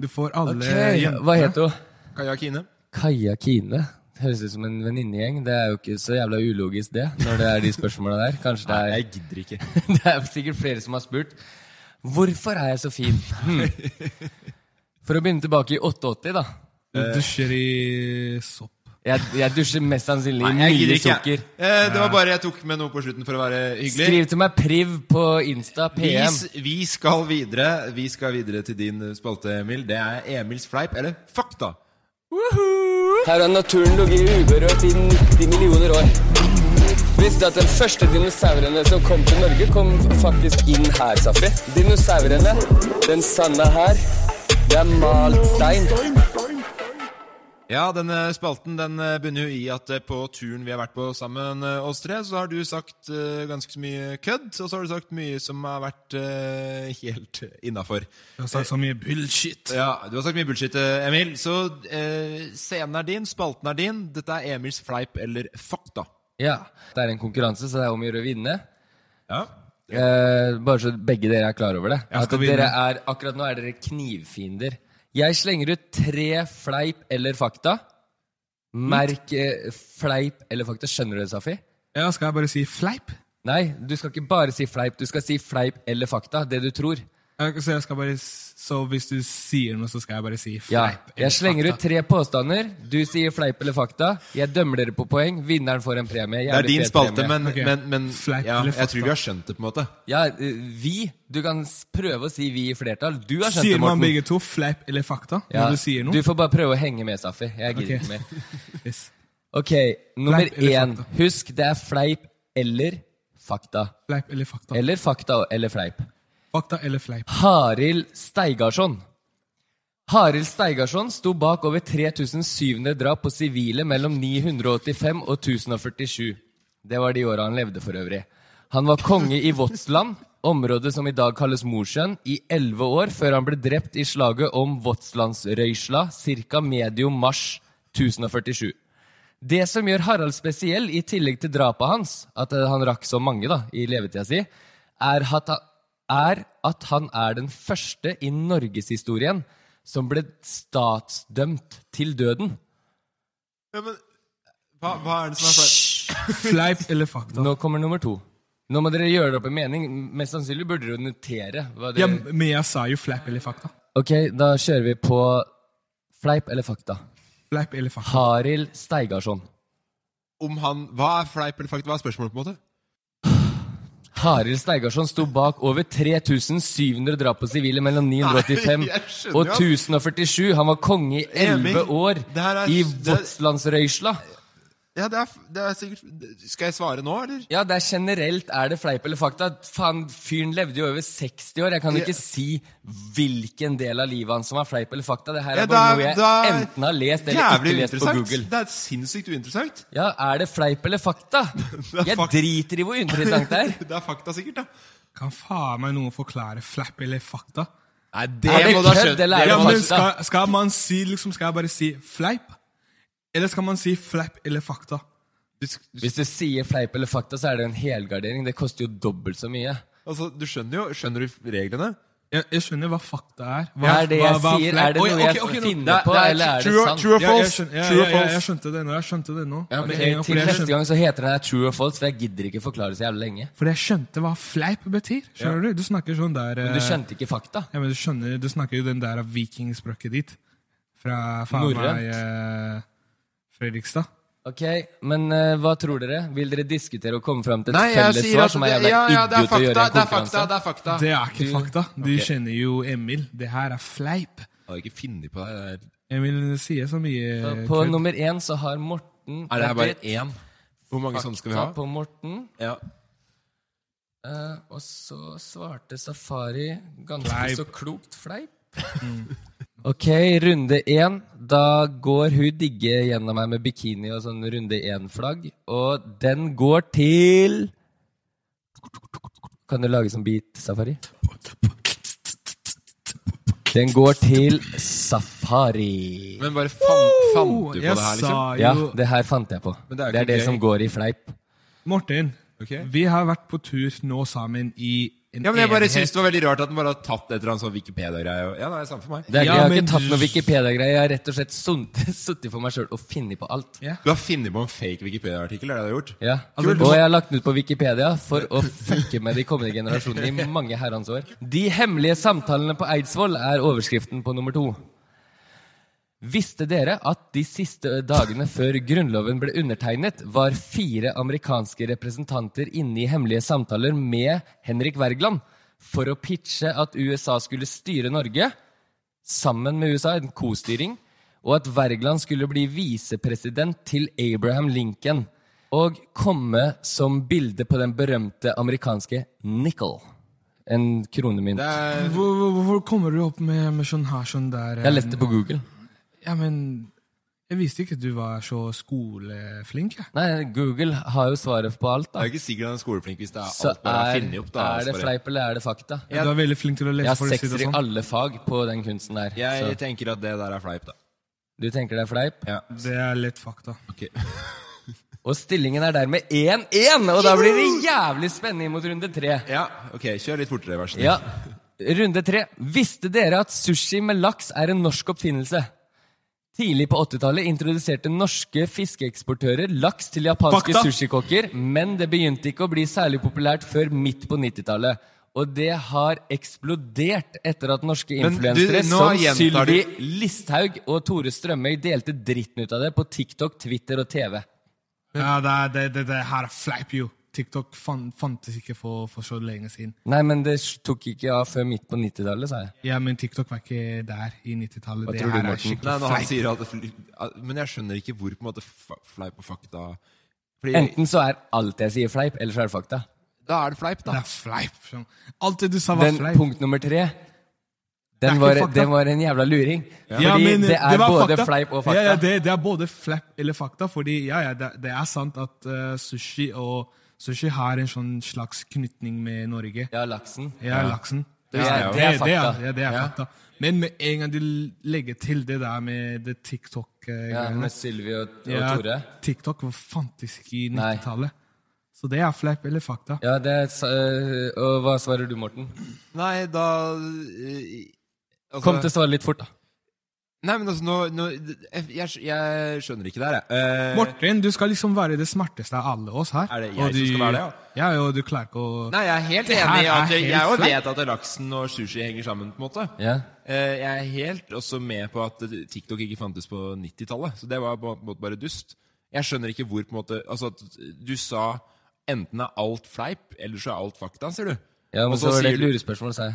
[SPEAKER 5] Du får alle jentene.
[SPEAKER 4] Hva heter hun?
[SPEAKER 3] Kaja Kine.
[SPEAKER 4] Kaja Kine. Det høres ut som en venninnegjeng. Det er jo ikke så jævla ulogisk, det. Når det er de spørsmåla der. Kanskje det
[SPEAKER 3] Jeg
[SPEAKER 4] er
[SPEAKER 3] gidder ikke.
[SPEAKER 4] Det er sikkert flere som har spurt. Hvorfor er jeg så fin? Hmm. For å begynne tilbake i 88, da.
[SPEAKER 5] Du dusjer i sopp.
[SPEAKER 4] Jeg, jeg dusjer mest sannsynlig i
[SPEAKER 3] Nei, jeg gidder
[SPEAKER 4] mye
[SPEAKER 3] ikke.
[SPEAKER 4] sukker.
[SPEAKER 3] Eh, det var bare jeg tok med noe på slutten for å være hyggelig.
[SPEAKER 4] Skriv til meg priv på Insta,
[SPEAKER 3] Vi,
[SPEAKER 4] PM.
[SPEAKER 3] s- vi skal videre Vi skal videre til din spalte, Emil. Det er Emils fleip eller fakta.
[SPEAKER 7] Her har naturen ligget uberørt i 90 millioner år. Visste at den første dinosaurene som kom til Norge, kom faktisk inn her, Safri. Dinosaurene, den sanda her, det er malt stein.
[SPEAKER 3] Ja, denne spalten den eh, bunner jo i at eh, på turen vi har vært på sammen, eh, oss tre, så har du sagt eh, ganske så mye kødd, og så har du sagt mye som har vært eh, helt innafor.
[SPEAKER 5] Du har sagt så mye bullshit.
[SPEAKER 3] Ja, du har sagt mye bullshit, eh, Emil. Så eh, scenen er din, spalten er din. Dette er Emils fleip eller fakta.
[SPEAKER 4] Ja, Det er en konkurranse, så det er om å gjøre å vinne.
[SPEAKER 3] Ja.
[SPEAKER 4] Eh, bare så begge dere er klar over det.
[SPEAKER 3] Jeg
[SPEAKER 4] At
[SPEAKER 3] skal vinne.
[SPEAKER 4] dere er, akkurat nå er dere knivfiender. Jeg slenger ut tre fleip eller fakta.
[SPEAKER 3] Hm?
[SPEAKER 4] Merk eh, fleip eller fakta. Skjønner du det, Safi?
[SPEAKER 5] Ja, skal jeg bare si fleip?
[SPEAKER 4] Nei, du skal ikke bare si fleip. Du skal si fleip eller fakta. Det du tror.
[SPEAKER 5] Ja, Så, jeg skal bare, s- så hvis du sier noe, så skal jeg bare si
[SPEAKER 4] Ja,
[SPEAKER 5] fleip?
[SPEAKER 4] jeg slenger ut tre påstander. Du sier fleip eller fakta. Jeg dømmer dere på poeng. Vinneren får en premie.
[SPEAKER 3] Det
[SPEAKER 4] Jævlig
[SPEAKER 3] er din
[SPEAKER 4] fet
[SPEAKER 3] spalte,
[SPEAKER 4] premie.
[SPEAKER 3] men, men, men ja, jeg tror vi har skjønt det, på en måte.
[SPEAKER 4] Ja, eh, vi. Du kan s- prøve å si vi i flertall. Du har skjønt
[SPEAKER 5] Sier
[SPEAKER 4] det,
[SPEAKER 5] man
[SPEAKER 4] Morten.
[SPEAKER 5] begge to fleip eller fakta
[SPEAKER 4] Ja,
[SPEAKER 5] når du sier noe?
[SPEAKER 4] Du får bare prøve å henge med, Safi. Jeg gidder
[SPEAKER 5] Ok.
[SPEAKER 4] ikke mer.
[SPEAKER 5] Yes.
[SPEAKER 4] Ok, nummer
[SPEAKER 5] Fleip eller
[SPEAKER 4] én. Husk, det er fleip eller fakta.
[SPEAKER 5] Fleip eller fakta?
[SPEAKER 4] Eller fakta eller fleip.
[SPEAKER 5] Fakta eller fleip?
[SPEAKER 4] Harild Steigarsson. Harild Steigarsson sto bak over 3700 drap på sivile mellom 985 og 1047. Det var de åra han levde, for øvrig. Han var konge i Våtsland, området som i dag kalles Mosjøen, i elleve år før han ble drept i slaget om Våtslandsrøysla ca. medio mars 1047. Det som gjør Harald spesiell, i tillegg til drapet hans, at eh, han rakk så mange da, i levetida si, er at, han, er at han er den første i norgeshistorien som ble statsdømt til døden.
[SPEAKER 3] Ja, men hva, hva er det som er feil?
[SPEAKER 5] Fleip eller fakta?
[SPEAKER 4] Nå kommer nummer to. Nå må dere gjøre dere opp en mening. Mest sannsynlig burde dere jo notere. Hva
[SPEAKER 5] Ja,
[SPEAKER 4] dere...
[SPEAKER 5] men jeg sa jo fleip eller fakta.
[SPEAKER 4] Ok, da kjører vi på fleip eller fakta.
[SPEAKER 5] Fleip eller fakta?
[SPEAKER 4] Harild Steigarsson.
[SPEAKER 3] Om han, hva er fleip eller fakta? Hva er spørsmålet, på en måte?
[SPEAKER 4] Harild Steigarsson sto bak over 3700 drap på sivile mellom 985
[SPEAKER 3] Nei, jeg skjønner
[SPEAKER 4] og
[SPEAKER 3] jo at-
[SPEAKER 4] 1047. Han var konge i
[SPEAKER 3] Emil,
[SPEAKER 4] 11 år
[SPEAKER 3] det her er-
[SPEAKER 4] i
[SPEAKER 3] det er-
[SPEAKER 4] Våtslandsrøysla.
[SPEAKER 3] Ja, det er, det er sikkert Skal jeg svare nå, eller?
[SPEAKER 4] Ja, det er generelt er det fleip eller fakta. Faen, fyren levde jo over 60 år. Jeg kan
[SPEAKER 3] Ja.
[SPEAKER 4] ikke si hvilken del av livet hans som er fleip eller fakta. Det her
[SPEAKER 3] Ja,
[SPEAKER 4] er bare
[SPEAKER 3] det
[SPEAKER 4] noe
[SPEAKER 3] er-
[SPEAKER 4] jeg
[SPEAKER 3] det er
[SPEAKER 4] enten har lest eller
[SPEAKER 3] Jævlig
[SPEAKER 4] ikke lest på
[SPEAKER 3] uinteressant.
[SPEAKER 4] Google.
[SPEAKER 3] Det er sinnssykt uinteressant.
[SPEAKER 4] Ja, er det fleip eller fakta? Jeg driter i hvor uinteressant det er.
[SPEAKER 3] Det er fakta, sikkert, da.
[SPEAKER 5] Kan faen meg noen forklare fleip eller fakta?
[SPEAKER 3] Nei,
[SPEAKER 4] Er det må du ha kødd, skjønt. eller er
[SPEAKER 5] Ja,
[SPEAKER 4] det
[SPEAKER 5] men
[SPEAKER 4] fakta?
[SPEAKER 5] skal, skal man si liksom, Skal jeg bare si fleip? Eller skal man si fleip eller fakta?
[SPEAKER 4] Hvis du sier fleip eller fakta, så er det en helgardering. Det koster jo dobbelt så mye.
[SPEAKER 3] Altså, Du skjønner jo Skjønner du reglene?
[SPEAKER 5] Jeg, jeg skjønner hva fakta er. Hva,
[SPEAKER 4] Ja, er det jeg sier? Er det
[SPEAKER 5] Oi,
[SPEAKER 4] noe jeg
[SPEAKER 5] ok, ok, nå-
[SPEAKER 4] finner
[SPEAKER 5] Det er-
[SPEAKER 4] på,
[SPEAKER 5] det
[SPEAKER 4] eller er det
[SPEAKER 5] true or-
[SPEAKER 4] sant?
[SPEAKER 5] True or
[SPEAKER 4] Ja, jeg
[SPEAKER 5] false?
[SPEAKER 4] skjønner- ja,
[SPEAKER 5] True or
[SPEAKER 4] ja, ja,
[SPEAKER 5] false?
[SPEAKER 4] jeg
[SPEAKER 5] Jeg skjønte det nå. Jeg skjønte det nå.
[SPEAKER 4] Ja,
[SPEAKER 5] Med
[SPEAKER 4] ok,
[SPEAKER 5] en gang,
[SPEAKER 4] til
[SPEAKER 5] fordi jeg
[SPEAKER 4] neste
[SPEAKER 5] skjønte-
[SPEAKER 4] gang så heter den her true or false, for jeg gidder ikke forklare så jævlig lenge.
[SPEAKER 5] Fordi jeg skjønte hva fleip betyr. Skjønner du? Du snakker sånn der
[SPEAKER 4] Men
[SPEAKER 5] eh,
[SPEAKER 4] du skjønte ikke fakta.
[SPEAKER 5] Ja, men du skjønner, du snakker jo den der vikingspråket ditt. Fra faen meg eh, Fredrikstad.
[SPEAKER 4] Ok, men eh, hva tror dere? Vil dere diskutere og komme fram til et
[SPEAKER 3] Nei, jeg
[SPEAKER 4] felles
[SPEAKER 3] sier
[SPEAKER 4] svar
[SPEAKER 3] at
[SPEAKER 4] som er
[SPEAKER 3] det-
[SPEAKER 4] jævla
[SPEAKER 3] ja, ja, det er
[SPEAKER 4] idiot å gjøre i
[SPEAKER 3] fakta,
[SPEAKER 4] en
[SPEAKER 3] det er
[SPEAKER 4] konkurranse?
[SPEAKER 3] fakta, det er fakta.
[SPEAKER 4] Ah,
[SPEAKER 5] Det er ikke fakta. Du
[SPEAKER 3] Ok.
[SPEAKER 5] kjenner jo Emil. Det her er fleip.
[SPEAKER 3] Jeg hadde ikke funnet på det. der.
[SPEAKER 5] Emil sier så mye
[SPEAKER 4] På
[SPEAKER 5] kødd.
[SPEAKER 4] nummer én så har Morten
[SPEAKER 3] Er det her bare
[SPEAKER 4] Vent litt.
[SPEAKER 3] én? Hvor mange sånne skal vi
[SPEAKER 4] Fakta
[SPEAKER 3] ha?
[SPEAKER 4] på Morten.
[SPEAKER 3] Ja.
[SPEAKER 4] Eh, og så svarte Safari ganske
[SPEAKER 5] Fleip.
[SPEAKER 4] så klokt fleip. Ok, runde én. Da går hun digge gjennom her med bikini og sånn runde én-flagg. Og den går til Kan du lage som beat, Safari? Den går til Safari.
[SPEAKER 3] Men bare fant, fant du på
[SPEAKER 5] jeg
[SPEAKER 3] det her, liksom?
[SPEAKER 5] sa jo-
[SPEAKER 4] Ja, det her fant jeg på.
[SPEAKER 3] Men
[SPEAKER 4] Det
[SPEAKER 3] det er
[SPEAKER 4] er
[SPEAKER 3] jo
[SPEAKER 4] det,
[SPEAKER 3] ikke gøy.
[SPEAKER 4] som går i fleip.
[SPEAKER 5] Martin, vi har vært på tur nå sammen i en
[SPEAKER 3] Ja, men Jeg bare
[SPEAKER 5] evighet.
[SPEAKER 3] syns det var veldig rart at den bare har tatt et eller annet sånn Wikipedia-greie. og- Ja, det er samme for meg.
[SPEAKER 4] Det er,
[SPEAKER 5] Ja,
[SPEAKER 4] jeg har
[SPEAKER 5] men
[SPEAKER 4] ikke tatt noe
[SPEAKER 5] du-
[SPEAKER 4] Wikipedia-greie. Jeg har rett og slett sittet for meg sjøl og funnet på alt.
[SPEAKER 5] Ja. Altså,
[SPEAKER 3] Du har funnet på en fake Wikipedia-artikkel? er det det du har gjort?
[SPEAKER 4] Ja. Altså,
[SPEAKER 3] Kult.
[SPEAKER 4] Og jeg har lagt den ut på Wikipedia for å fucke med de kommende generasjonene i mange herrens år. De hemmelige samtalene på Eidsvoll er overskriften på nummer to. Visste dere at de siste dagene før Grunnloven ble undertegnet, var fire amerikanske representanter inne i hemmelige samtaler med Henrik Wergeland for å pitche at USA skulle styre Norge sammen med USA, en kostyring, og at Wergeland skulle bli visepresident til Abraham Lincoln og komme som bilde på den berømte amerikanske nickel? En kronemynt.
[SPEAKER 5] Hvor, hvor, hvor kommer du opp med, med sånn her, sånn der
[SPEAKER 4] Jeg leste på Google.
[SPEAKER 5] Ja, men jeg visste ikke at du var så skoleflink. jeg.
[SPEAKER 4] Nei, Google har jo svaret på alt, da.
[SPEAKER 3] Det er jo ikke sikkert han er skoleflink hvis det er
[SPEAKER 4] Så
[SPEAKER 3] alt bare
[SPEAKER 4] er,
[SPEAKER 3] er, funnet opp. da
[SPEAKER 4] er det
[SPEAKER 3] Sverre.
[SPEAKER 4] fleip eller er det fakta?
[SPEAKER 3] Ja, du er veldig flink til å lese
[SPEAKER 4] Jeg har
[SPEAKER 3] folk, si det
[SPEAKER 4] sekser i
[SPEAKER 3] sånn.
[SPEAKER 4] alle fag på den kunsten der.
[SPEAKER 3] Jeg
[SPEAKER 4] så-
[SPEAKER 3] tenker at det der er fleip, da.
[SPEAKER 4] Du tenker det er fleip?
[SPEAKER 5] Det er lett fakta.
[SPEAKER 4] Og stillingen er dermed 1-1, og da blir det jævlig spennende mot runde tre.
[SPEAKER 3] Ja, ok, kjør litt fortere, vær så snill.
[SPEAKER 4] Ja. Runde tre. Visste dere at sushi med laks er en norsk oppfinnelse? Tidlig på 80-tallet introduserte norske fiskeeksportører laks til japanske
[SPEAKER 5] Fakta.
[SPEAKER 4] sushikokker, men det begynte ikke å bli særlig populært før midt på 90-tallet. Og det har eksplodert etter at norske
[SPEAKER 3] Men du,
[SPEAKER 4] influensere
[SPEAKER 3] nå
[SPEAKER 4] som
[SPEAKER 3] gjentar
[SPEAKER 4] Sylvi
[SPEAKER 3] du-
[SPEAKER 4] Listhaug og Tore Strømøy delte dritten ut av det på TikTok, Twitter og TV.
[SPEAKER 5] Ja, det, er- det, det, det her er fleip, jo. TikTok fan, fantes ikke for, for så lenge siden.
[SPEAKER 4] Nei, men det tok ikke av før midt på 90-tallet, sa jeg.
[SPEAKER 5] Ja, men TikTok var ikke der i 90-tallet.
[SPEAKER 4] Hva
[SPEAKER 5] Det
[SPEAKER 4] tror du,
[SPEAKER 5] her er
[SPEAKER 4] Morten?
[SPEAKER 5] skikkelig
[SPEAKER 3] Nei, når han
[SPEAKER 5] fleip.
[SPEAKER 3] sier at det fly- at- Men jeg skjønner ikke hvor på en måte fa- fleip og fakta Fordi
[SPEAKER 4] Enten så er alt jeg sier fleip, eller så er det fakta.
[SPEAKER 3] Da er det fleip, da.
[SPEAKER 5] Det er fleip. sånn. Alt det du sa, var
[SPEAKER 4] Den
[SPEAKER 5] fleip.
[SPEAKER 4] punkt nummer tre,
[SPEAKER 5] er
[SPEAKER 4] den
[SPEAKER 5] ikke
[SPEAKER 4] var,
[SPEAKER 5] fakta.
[SPEAKER 4] den var en jævla luring. Fordi
[SPEAKER 5] Ja, men,
[SPEAKER 4] det er
[SPEAKER 5] var
[SPEAKER 4] både
[SPEAKER 5] fakta.
[SPEAKER 4] fleip og fakta.
[SPEAKER 5] Ja, ja, det, det er både fleip eller fakta, fordi ja, ja, det, det er sant at eh, sushi og sushi har en sånn slags knytning med Norge.
[SPEAKER 4] Ja, laksen.
[SPEAKER 5] Ja,
[SPEAKER 4] Ja.
[SPEAKER 5] laksen.
[SPEAKER 4] Det visste jeg jo. Det er fakta.
[SPEAKER 5] ja, det er
[SPEAKER 4] Ja.
[SPEAKER 5] fakta. Men med en gang de legger til det der med det TikTok-greiene
[SPEAKER 4] Ja, med Sylvi og, og Tore.
[SPEAKER 5] TikTok var fantastisk i
[SPEAKER 4] Nei.
[SPEAKER 5] 90-tallet. Så det er fleip eller fakta.
[SPEAKER 4] Ja, det er, sa- øh, og hva svarer du, Morten?
[SPEAKER 3] Nei, da eh, altså-
[SPEAKER 4] Kom til å svare litt fort, da.
[SPEAKER 3] Nei, men altså, nå, nå jeg, jeg- jeg skjønner ikke det her, jeg. Eh,
[SPEAKER 5] Morten, du skal liksom være det smarteste av alle oss her.
[SPEAKER 3] Er det jeg som skal være det,
[SPEAKER 5] ja? Ja, og du klarer ikke å
[SPEAKER 3] Nei, jeg er helt
[SPEAKER 5] Det her
[SPEAKER 3] enig i
[SPEAKER 5] er
[SPEAKER 3] at jeg,
[SPEAKER 5] helt
[SPEAKER 3] jeg jo
[SPEAKER 5] fleip.
[SPEAKER 3] vet at laksen og sushi henger sammen, på en måte.
[SPEAKER 4] Ja.
[SPEAKER 3] Eh, Jeg er helt også med på at TikTok ikke fantes på 90-tallet, så det var på en måte bare dust. Jeg skjønner ikke hvor på en måte Altså at du sa enten er alt fleip, eller så er alt fakta, sier du.
[SPEAKER 4] Ja, men
[SPEAKER 3] Og
[SPEAKER 4] så var
[SPEAKER 3] sier
[SPEAKER 4] det et
[SPEAKER 3] du-
[SPEAKER 4] lurespørsmål, sa jeg.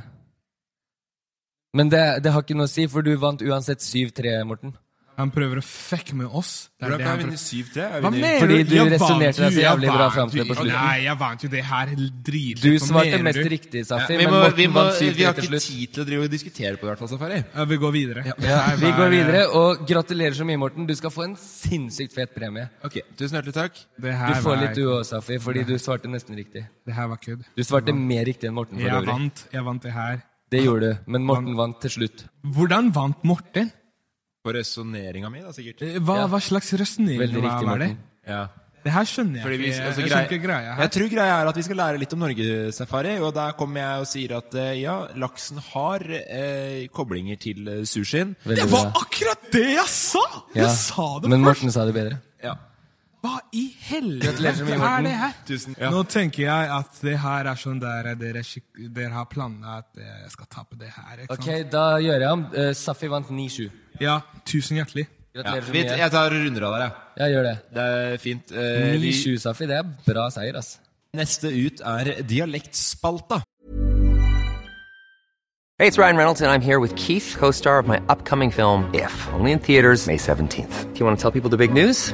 [SPEAKER 4] Men det, det har ikke noe å si, for du vant uansett 7-3, Morten.
[SPEAKER 5] Han prøver å fucke med oss. Det er
[SPEAKER 3] Hvordan
[SPEAKER 5] det
[SPEAKER 3] kan
[SPEAKER 5] han
[SPEAKER 3] jeg vinne
[SPEAKER 5] prøver-
[SPEAKER 3] 7-3?
[SPEAKER 5] Hva
[SPEAKER 3] Jeg vinner-
[SPEAKER 5] mener
[SPEAKER 4] Fordi du
[SPEAKER 5] Jeg
[SPEAKER 4] resonerte
[SPEAKER 5] vant
[SPEAKER 4] deg så
[SPEAKER 5] jo, jeg
[SPEAKER 4] jævlig bra
[SPEAKER 5] vant
[SPEAKER 4] fram til
[SPEAKER 5] jo.
[SPEAKER 4] på slutten.
[SPEAKER 5] Nei, jeg vant jo det her dritlig.
[SPEAKER 4] Du
[SPEAKER 5] Hva
[SPEAKER 4] svarte
[SPEAKER 5] mener
[SPEAKER 4] mest
[SPEAKER 5] du?
[SPEAKER 4] riktig, Safi,
[SPEAKER 3] vi,
[SPEAKER 4] men
[SPEAKER 3] må,
[SPEAKER 4] Morten
[SPEAKER 3] vi, må,
[SPEAKER 4] vant 7-3
[SPEAKER 3] vi har
[SPEAKER 4] til
[SPEAKER 3] ikke
[SPEAKER 4] slutt.
[SPEAKER 3] tid til å drive og diskutere på det, i hvert fall, Safari.
[SPEAKER 5] Ja, vi går videre.
[SPEAKER 4] Ja,
[SPEAKER 5] Nei,
[SPEAKER 4] vi
[SPEAKER 5] hva er-
[SPEAKER 4] går videre, og gratulerer så mye, Morten. Du skal få en sinnssykt fet premie.
[SPEAKER 3] Ok, Tusen hjertelig takk.
[SPEAKER 5] Det her
[SPEAKER 4] Du får
[SPEAKER 5] var-
[SPEAKER 4] litt du er òg, Safi, fordi du svarte nesten riktig.
[SPEAKER 5] Det her var kødd.
[SPEAKER 4] Du svarte mer riktig enn Morten. for
[SPEAKER 5] Jeg
[SPEAKER 4] øvrig.
[SPEAKER 5] vant, jeg vant det her.
[SPEAKER 4] Det gjorde du, men Morten vant til slutt.
[SPEAKER 5] Hvordan vant Morten?
[SPEAKER 3] For resonneringa mi, da, sikkert.
[SPEAKER 5] Eh, Hva, hva slags
[SPEAKER 4] Veldig
[SPEAKER 5] resonering var
[SPEAKER 4] riktig,
[SPEAKER 5] var det?
[SPEAKER 4] Morten.
[SPEAKER 3] Ja.
[SPEAKER 5] Det her skjønner jeg
[SPEAKER 3] Fordi vi,
[SPEAKER 5] ikke. Jeg
[SPEAKER 3] altså,
[SPEAKER 5] skjønner ikke greia her.
[SPEAKER 3] Jeg tror greia er at vi skal lære litt om Norgesafari, og der kommer jeg og sier at eh, ja, laksen har eh, koblinger til eh, sushien.
[SPEAKER 5] Det var akkurat det jeg sa!
[SPEAKER 4] Ja,
[SPEAKER 5] Jeg sa det
[SPEAKER 4] Men
[SPEAKER 5] først!
[SPEAKER 4] Morten sa det bedre.
[SPEAKER 3] Ja.
[SPEAKER 5] Hva i
[SPEAKER 4] Gratulerer så
[SPEAKER 5] helvete
[SPEAKER 4] mye,
[SPEAKER 5] er
[SPEAKER 4] Morten.
[SPEAKER 5] det her?
[SPEAKER 3] Tusen, ja.
[SPEAKER 5] Nå tenker jeg at det her er sånn der eh, dere, skikk- dere har planlagt at eh, jeg skal tape det her. Ikke
[SPEAKER 4] Ok, da gjør jeg om. Eh, Safi vant 9-7.
[SPEAKER 5] sant? Ja, tusen hjertelig.
[SPEAKER 3] Ja,
[SPEAKER 4] Gratulerer så
[SPEAKER 3] vi,
[SPEAKER 4] mye.
[SPEAKER 3] jeg tar runder av der, jeg.
[SPEAKER 4] Ja, gjør det.
[SPEAKER 3] Det er fint. Eh, vi,
[SPEAKER 4] 9-7, Safi. Det er bra seier, ass.
[SPEAKER 3] neste ut er Dialektspalta.
[SPEAKER 8] Hey, it's Ryan Reynolds, and I'm here with Keith, co star of my upcoming film, If, only in theaters, May 17th. Do you want to tell people the big news?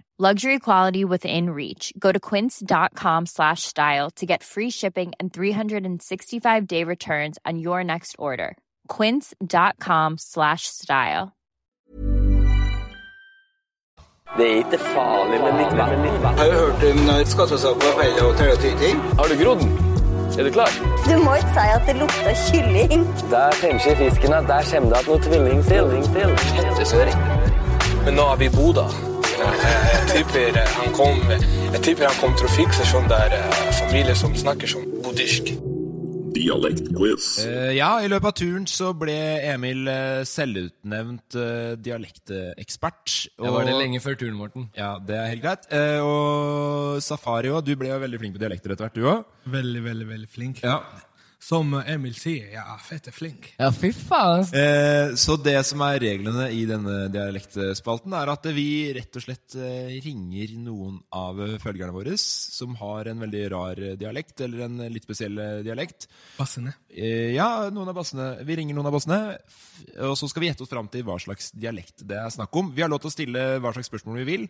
[SPEAKER 9] Luxury quality within reach. Go to quince.com slash style to get free shipping and 365 day returns on your next order. Quince.com slash style.
[SPEAKER 7] Det er ikke farlig, men litt vann.
[SPEAKER 10] Har du hørt om når skattesaker på feil hotell og tyting?
[SPEAKER 7] Har du grodd? Er du klar?
[SPEAKER 11] Du må ikke si at det lukter kylling.
[SPEAKER 7] Der fremskjer fisken at der kommer det at noe tvilling til.
[SPEAKER 10] Fettesør. Men nå er vi i Bodø. Jeg tipper han kom Jeg tipper han kom til å fikse sånn der eh, familie som snakker sånn buddhist.
[SPEAKER 3] Dialektquiz. Eh, ja, i løpet av turen så ble Emil eh, selvutnevnt eh, dialektekspert.
[SPEAKER 4] Jeg var det lenge før turen, Morten.
[SPEAKER 3] Ja, det er helt greit. Eh, og Safari òg, du ble jo veldig flink på dialekter etter hvert, du òg.
[SPEAKER 5] Veldig, veldig veldig flink.
[SPEAKER 3] Ja.
[SPEAKER 5] Som Emil sier, jeg er fette flink.
[SPEAKER 4] Ja, fy faen.
[SPEAKER 3] Eh, så det som er reglene i denne dialektspalten, er at vi rett og slett eh, ringer noen av følgerne våre som har en veldig rar dialekt, eller en litt spesiell eh, dialekt.
[SPEAKER 5] Bassene.
[SPEAKER 3] Eh, ja, noen av bassene. Vi ringer noen av bassene, f- og så skal vi gjette oss fram til hva slags dialekt det er snakk om. Vi har lov til å stille hva slags spørsmål vi vil,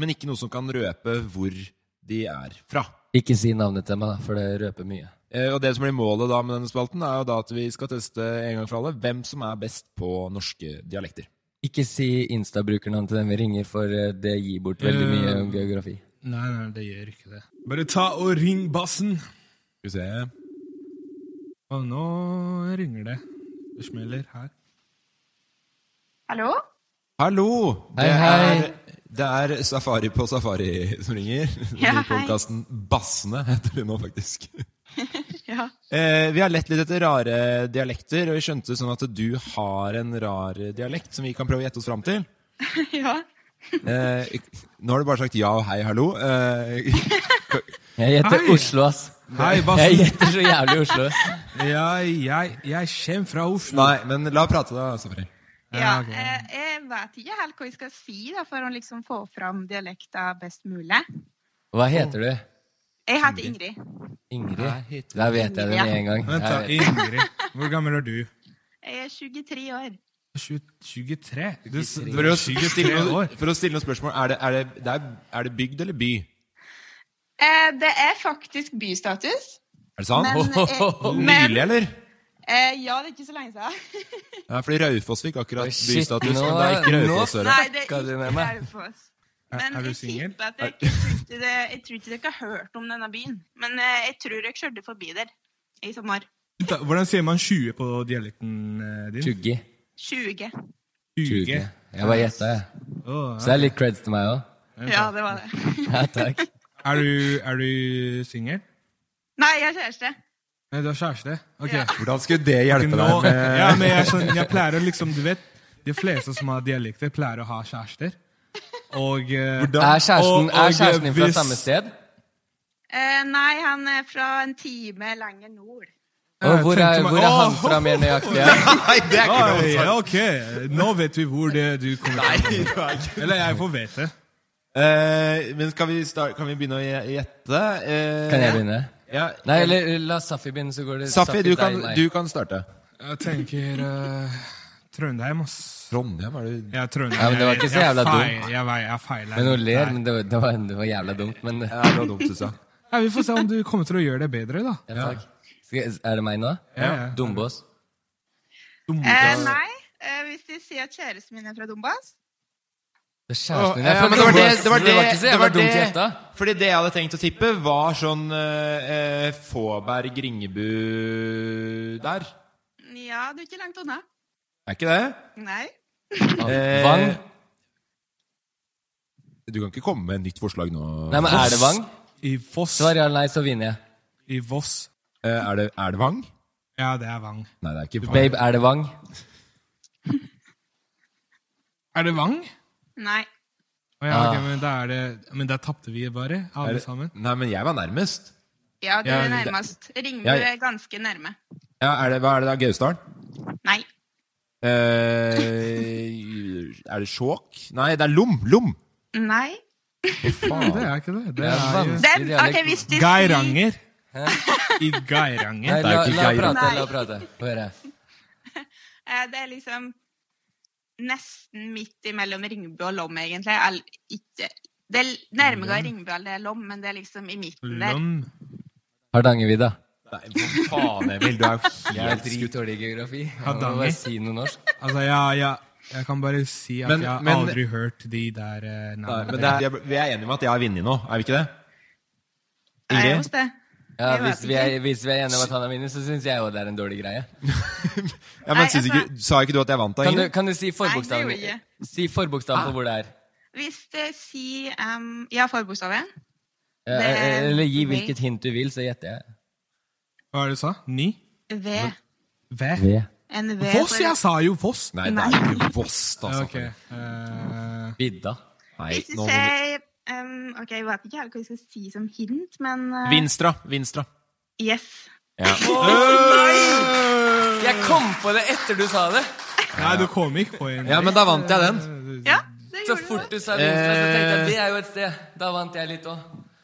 [SPEAKER 3] men ikke noe som kan røpe hvor de er fra.
[SPEAKER 4] Ikke si navnet til meg, da, for det røper mye.
[SPEAKER 3] Eh, Og det som blir målet da med denne spalten, er jo da at vi skal teste en gang for alle hvem som er best på norske dialekter.
[SPEAKER 4] Ikke si Insta-brukernavn til den vi ringer, for eh, det gir bort veldig mye
[SPEAKER 5] Eh.
[SPEAKER 4] om geografi.
[SPEAKER 5] Nei, nei, det gjør ikke det. Bare ta og ring bassen.
[SPEAKER 3] Skal vi se
[SPEAKER 5] Og nå ringer det. Det smeller her.
[SPEAKER 12] Hallo?
[SPEAKER 3] Hallo!
[SPEAKER 5] Hei,
[SPEAKER 3] det
[SPEAKER 5] hei.
[SPEAKER 3] Er, det er Safari på Safari som ringer.
[SPEAKER 12] Ja,
[SPEAKER 3] I
[SPEAKER 12] hei.
[SPEAKER 3] podkasten Bassene heter det nå, faktisk.
[SPEAKER 12] Ja.
[SPEAKER 3] Eh, vi har lett litt etter rare dialekter, og vi skjønte sånn at du har en rar dialekt som vi kan prøve å gjette oss fram til.
[SPEAKER 12] ja.
[SPEAKER 3] Eh, nå har du bare sagt ja og hei, hallo. Eh,
[SPEAKER 4] Jeg gjetter
[SPEAKER 5] Hei.
[SPEAKER 4] Oslo, ass.
[SPEAKER 5] Hei, bassen.
[SPEAKER 4] Jeg gjetter så jævlig Oslo.
[SPEAKER 5] ja, jeg, jeg kommer fra Oslo.
[SPEAKER 3] nei, men la prate, da, Safari.
[SPEAKER 12] ja eh, jeg vet ikke helt hva jeg skal si da, for å liksom få fram dialekta best mulig.
[SPEAKER 4] Hva heter du?
[SPEAKER 12] Jeg heter Ingrid.
[SPEAKER 4] Ingrid? Da vet jeg det
[SPEAKER 12] Ja.
[SPEAKER 4] med en gang.
[SPEAKER 5] Vent, da.
[SPEAKER 4] Jeg vet-
[SPEAKER 5] Ingrid. Hvor gammel er du?
[SPEAKER 12] Jeg er 23 år.
[SPEAKER 5] 20, 23? Du, s- du
[SPEAKER 3] For å,
[SPEAKER 5] er
[SPEAKER 3] stille
[SPEAKER 5] 23
[SPEAKER 3] noe,
[SPEAKER 5] år.
[SPEAKER 3] for å stille noen spørsmål, er det, er, det, det er, er det bygd eller by?
[SPEAKER 12] Eh, det er faktisk bystatus.
[SPEAKER 3] Er det sant?
[SPEAKER 12] Men, eh, men-
[SPEAKER 3] Nylig, eller?
[SPEAKER 12] Eh, ja, det er ikke så lenge siden.
[SPEAKER 3] Ja, fordi Raufoss fikk akkurat
[SPEAKER 4] shit,
[SPEAKER 3] bystatus,
[SPEAKER 4] nå-
[SPEAKER 3] men det er ikke
[SPEAKER 4] nå-
[SPEAKER 3] Raufoss. hører
[SPEAKER 12] Nei,
[SPEAKER 3] jeg.
[SPEAKER 12] det er
[SPEAKER 4] Fucka du med
[SPEAKER 12] ikke
[SPEAKER 4] meg?
[SPEAKER 12] Raufoss.
[SPEAKER 3] Er-
[SPEAKER 12] Men
[SPEAKER 3] er du
[SPEAKER 12] jeg
[SPEAKER 3] singel?
[SPEAKER 12] tipper at jeg, ikke tror ikke det, Eh, jeg tror ikke dere har hørt om denne byen. Men eh, jeg tror jeg kjørte forbi der i sommer.
[SPEAKER 5] Da, hvordan sier man 20 på dialekten eh, din?
[SPEAKER 4] 20.
[SPEAKER 12] 20.
[SPEAKER 5] 20.
[SPEAKER 4] Jeg bare gjetta, jeg.
[SPEAKER 5] Å,
[SPEAKER 4] Så det er litt creds til meg òg.
[SPEAKER 12] Ja, det var det.
[SPEAKER 4] Ja, takk.
[SPEAKER 5] Er du, er du singel?
[SPEAKER 12] Nei, jeg har kjæreste.
[SPEAKER 5] Nei, du har kjæreste? Ok.
[SPEAKER 3] Hvordan skulle det hjelpe
[SPEAKER 5] Nå,
[SPEAKER 3] deg med
[SPEAKER 5] ja, men jeg, er sånn, jeg pleier å liksom, du vet, De fleste som har dialekter, pleier å ha kjærester. Og, eh,
[SPEAKER 4] Er kjæresten,
[SPEAKER 5] og- og,
[SPEAKER 4] er
[SPEAKER 5] eh,
[SPEAKER 4] kjæresten din fra
[SPEAKER 5] hvis-
[SPEAKER 4] samme sted?
[SPEAKER 12] Eh, nei, han er fra en time lenger nord.
[SPEAKER 4] Og hvor er,
[SPEAKER 5] tenkte meg-
[SPEAKER 4] hvor er han
[SPEAKER 5] Åh!
[SPEAKER 4] fra mer nøyaktig? ja?
[SPEAKER 3] det er ikke noe
[SPEAKER 5] Oi,
[SPEAKER 3] svar.
[SPEAKER 5] Ok, nå vet vi hvor det du kommer fra. Eller jeg får vite.
[SPEAKER 3] Eh, Men skal vi, start, kan vi begynne å gje- gjette? Eh,
[SPEAKER 4] Kan jeg begynne?
[SPEAKER 3] Ja.
[SPEAKER 4] Nei, eller la Safi begynne, så går det
[SPEAKER 3] Safi, du
[SPEAKER 4] deg,
[SPEAKER 3] kan,
[SPEAKER 4] meg.
[SPEAKER 3] du kan starte.
[SPEAKER 5] Jeg tenker eh, Trøndheim, ass.
[SPEAKER 3] Trondheim, er du
[SPEAKER 5] Jeg er Trøndheim.
[SPEAKER 4] Ja, men det var ikke så
[SPEAKER 5] Jeg- jeg
[SPEAKER 4] jævla
[SPEAKER 5] feil-
[SPEAKER 4] dumt.
[SPEAKER 5] Jeg, vei- jeg, feiler.
[SPEAKER 4] Men hun ler, men det var, det var, det var jævla dumt. Men
[SPEAKER 3] Ja, det var dumt, synes jeg.
[SPEAKER 5] Ja, vi får se om du kommer til å gjøre det bedre, da.
[SPEAKER 4] ja, takk. Skal, er det meg nå?
[SPEAKER 5] Ja.
[SPEAKER 4] Dombås.
[SPEAKER 12] Eh, nei, eh, hvis de sier at kjæresten min er fra Dombås
[SPEAKER 4] Det er
[SPEAKER 3] Åh,
[SPEAKER 4] kjæresten din.
[SPEAKER 3] ja,
[SPEAKER 4] Jeg
[SPEAKER 3] men
[SPEAKER 4] følte
[SPEAKER 3] det var det,
[SPEAKER 4] også-
[SPEAKER 3] det, var det,
[SPEAKER 4] var ikke så
[SPEAKER 3] det,
[SPEAKER 4] jævla
[SPEAKER 3] var
[SPEAKER 4] dumt
[SPEAKER 3] det,
[SPEAKER 4] gjetta.
[SPEAKER 3] Fordi det jeg hadde tenkt å tippe, var sånn eh, eh, Fåberg, Ringebu der.
[SPEAKER 12] Ja, du er ikke langt unna.
[SPEAKER 3] Er ikke det?
[SPEAKER 12] Nei.
[SPEAKER 3] Eh,
[SPEAKER 4] Vang?
[SPEAKER 3] Du kan ikke komme med et nytt forslag nå.
[SPEAKER 4] Nei, men er det Vang?
[SPEAKER 5] I Voss.
[SPEAKER 4] Svar ja eller nei, så vinner
[SPEAKER 5] I
[SPEAKER 4] jeg.
[SPEAKER 5] Voss.
[SPEAKER 3] Eh, er, det, er det Vang?
[SPEAKER 5] Ja, det er Vang.
[SPEAKER 3] Nei, det er ikke Vang.
[SPEAKER 4] Babe, er det Vang?
[SPEAKER 5] Er det Vang?
[SPEAKER 12] Nei.
[SPEAKER 5] Å ja, ok,
[SPEAKER 3] Ah.
[SPEAKER 5] men, da er det, men der tapte vi bare,
[SPEAKER 3] Er
[SPEAKER 5] alle
[SPEAKER 3] det-
[SPEAKER 5] sammen.
[SPEAKER 3] Nei, men jeg var nærmest.
[SPEAKER 12] Ja, du
[SPEAKER 3] Ja,
[SPEAKER 12] er
[SPEAKER 3] det-
[SPEAKER 12] nærmest. Ringebu
[SPEAKER 3] Ja, ja.
[SPEAKER 12] er ganske nærme.
[SPEAKER 3] Ja, er det, hva er det da? Gausdalen?
[SPEAKER 12] Nei.
[SPEAKER 3] Eh, er det Skjåk? Nei, det er Lom! Lom!
[SPEAKER 12] Nei.
[SPEAKER 3] faen?
[SPEAKER 5] Det er ikke det.
[SPEAKER 3] Det
[SPEAKER 5] Det
[SPEAKER 3] er
[SPEAKER 5] er jo-
[SPEAKER 12] Den, ok, hvis du
[SPEAKER 5] Geiranger. I Geiranger.
[SPEAKER 4] Nei, la, la prate, la
[SPEAKER 12] Nei.
[SPEAKER 4] prate. Få høre.
[SPEAKER 12] Eh, Det er liksom nesten midt imellom Ringebu og Lom, egentlig. Al- ikke, det er nærmere Ringebu enn det er Lom, men det er liksom i midten der.
[SPEAKER 4] Hardangervidda.
[SPEAKER 3] Faen, Emil, du er jo
[SPEAKER 4] Jeg er
[SPEAKER 3] helt skutt.
[SPEAKER 4] dritdårlig i geografi. Jeg må
[SPEAKER 5] Hardanger.
[SPEAKER 4] bare si noe norsk.
[SPEAKER 5] Altså, ja, ja, jeg kan bare si at
[SPEAKER 3] Men-
[SPEAKER 5] jeg har
[SPEAKER 3] men-
[SPEAKER 5] aldri hørt de der eh,
[SPEAKER 3] Nei,
[SPEAKER 5] navnene.
[SPEAKER 3] men det er, vi er enige om at jeg har vunnet nå, er vi ikke det?
[SPEAKER 12] Er jeg
[SPEAKER 3] Ingrid?
[SPEAKER 12] hos det?
[SPEAKER 4] Ja,
[SPEAKER 12] Jeg
[SPEAKER 4] hvis
[SPEAKER 12] vet
[SPEAKER 4] vi,
[SPEAKER 12] ikke.
[SPEAKER 4] er, hvis vi er enige om at han er vinner, så syns jeg òg det er en dårlig greie.
[SPEAKER 3] Ja, men synes ikke, Sa ikke du at jeg vant da,
[SPEAKER 4] Kan du,
[SPEAKER 3] Ingrid?
[SPEAKER 4] kan du si forbokstaven
[SPEAKER 12] Nei, det gjorde jeg
[SPEAKER 4] Si forbokstaven på hvor det er?
[SPEAKER 12] Hvis det sier um, Ja, forbokstaven.
[SPEAKER 4] Eh,
[SPEAKER 12] Det er-
[SPEAKER 4] Eller gi hvilket hint du vil, så gjetter jeg.
[SPEAKER 5] Hva er det du sa? Ni?
[SPEAKER 12] V.
[SPEAKER 5] V?
[SPEAKER 4] V.
[SPEAKER 12] En V
[SPEAKER 5] Voss,
[SPEAKER 12] for-
[SPEAKER 5] jeg sa jo Voss!
[SPEAKER 3] Nei, det er ikke Voss, altså. da.
[SPEAKER 5] Ja,
[SPEAKER 3] sa
[SPEAKER 5] ok. Eh,
[SPEAKER 4] Vidda.
[SPEAKER 3] Nei,
[SPEAKER 12] Hvis du
[SPEAKER 3] nå må du...
[SPEAKER 12] sier um, Ok, jeg vet ikke helt hva jeg skal si som hint, men eh,
[SPEAKER 3] Vinstra. Vinstra.
[SPEAKER 12] Yes.
[SPEAKER 3] Ja. Eh,
[SPEAKER 4] Jeg kom på det etter du sa det!
[SPEAKER 5] nei, du kom ikke på en
[SPEAKER 3] ja, men da vant jeg den.
[SPEAKER 12] Ja, det
[SPEAKER 4] Så
[SPEAKER 12] gjorde du.
[SPEAKER 4] fort du sa Vinstra, så tenkte jeg det er jo et sted. Da vant jeg litt òg.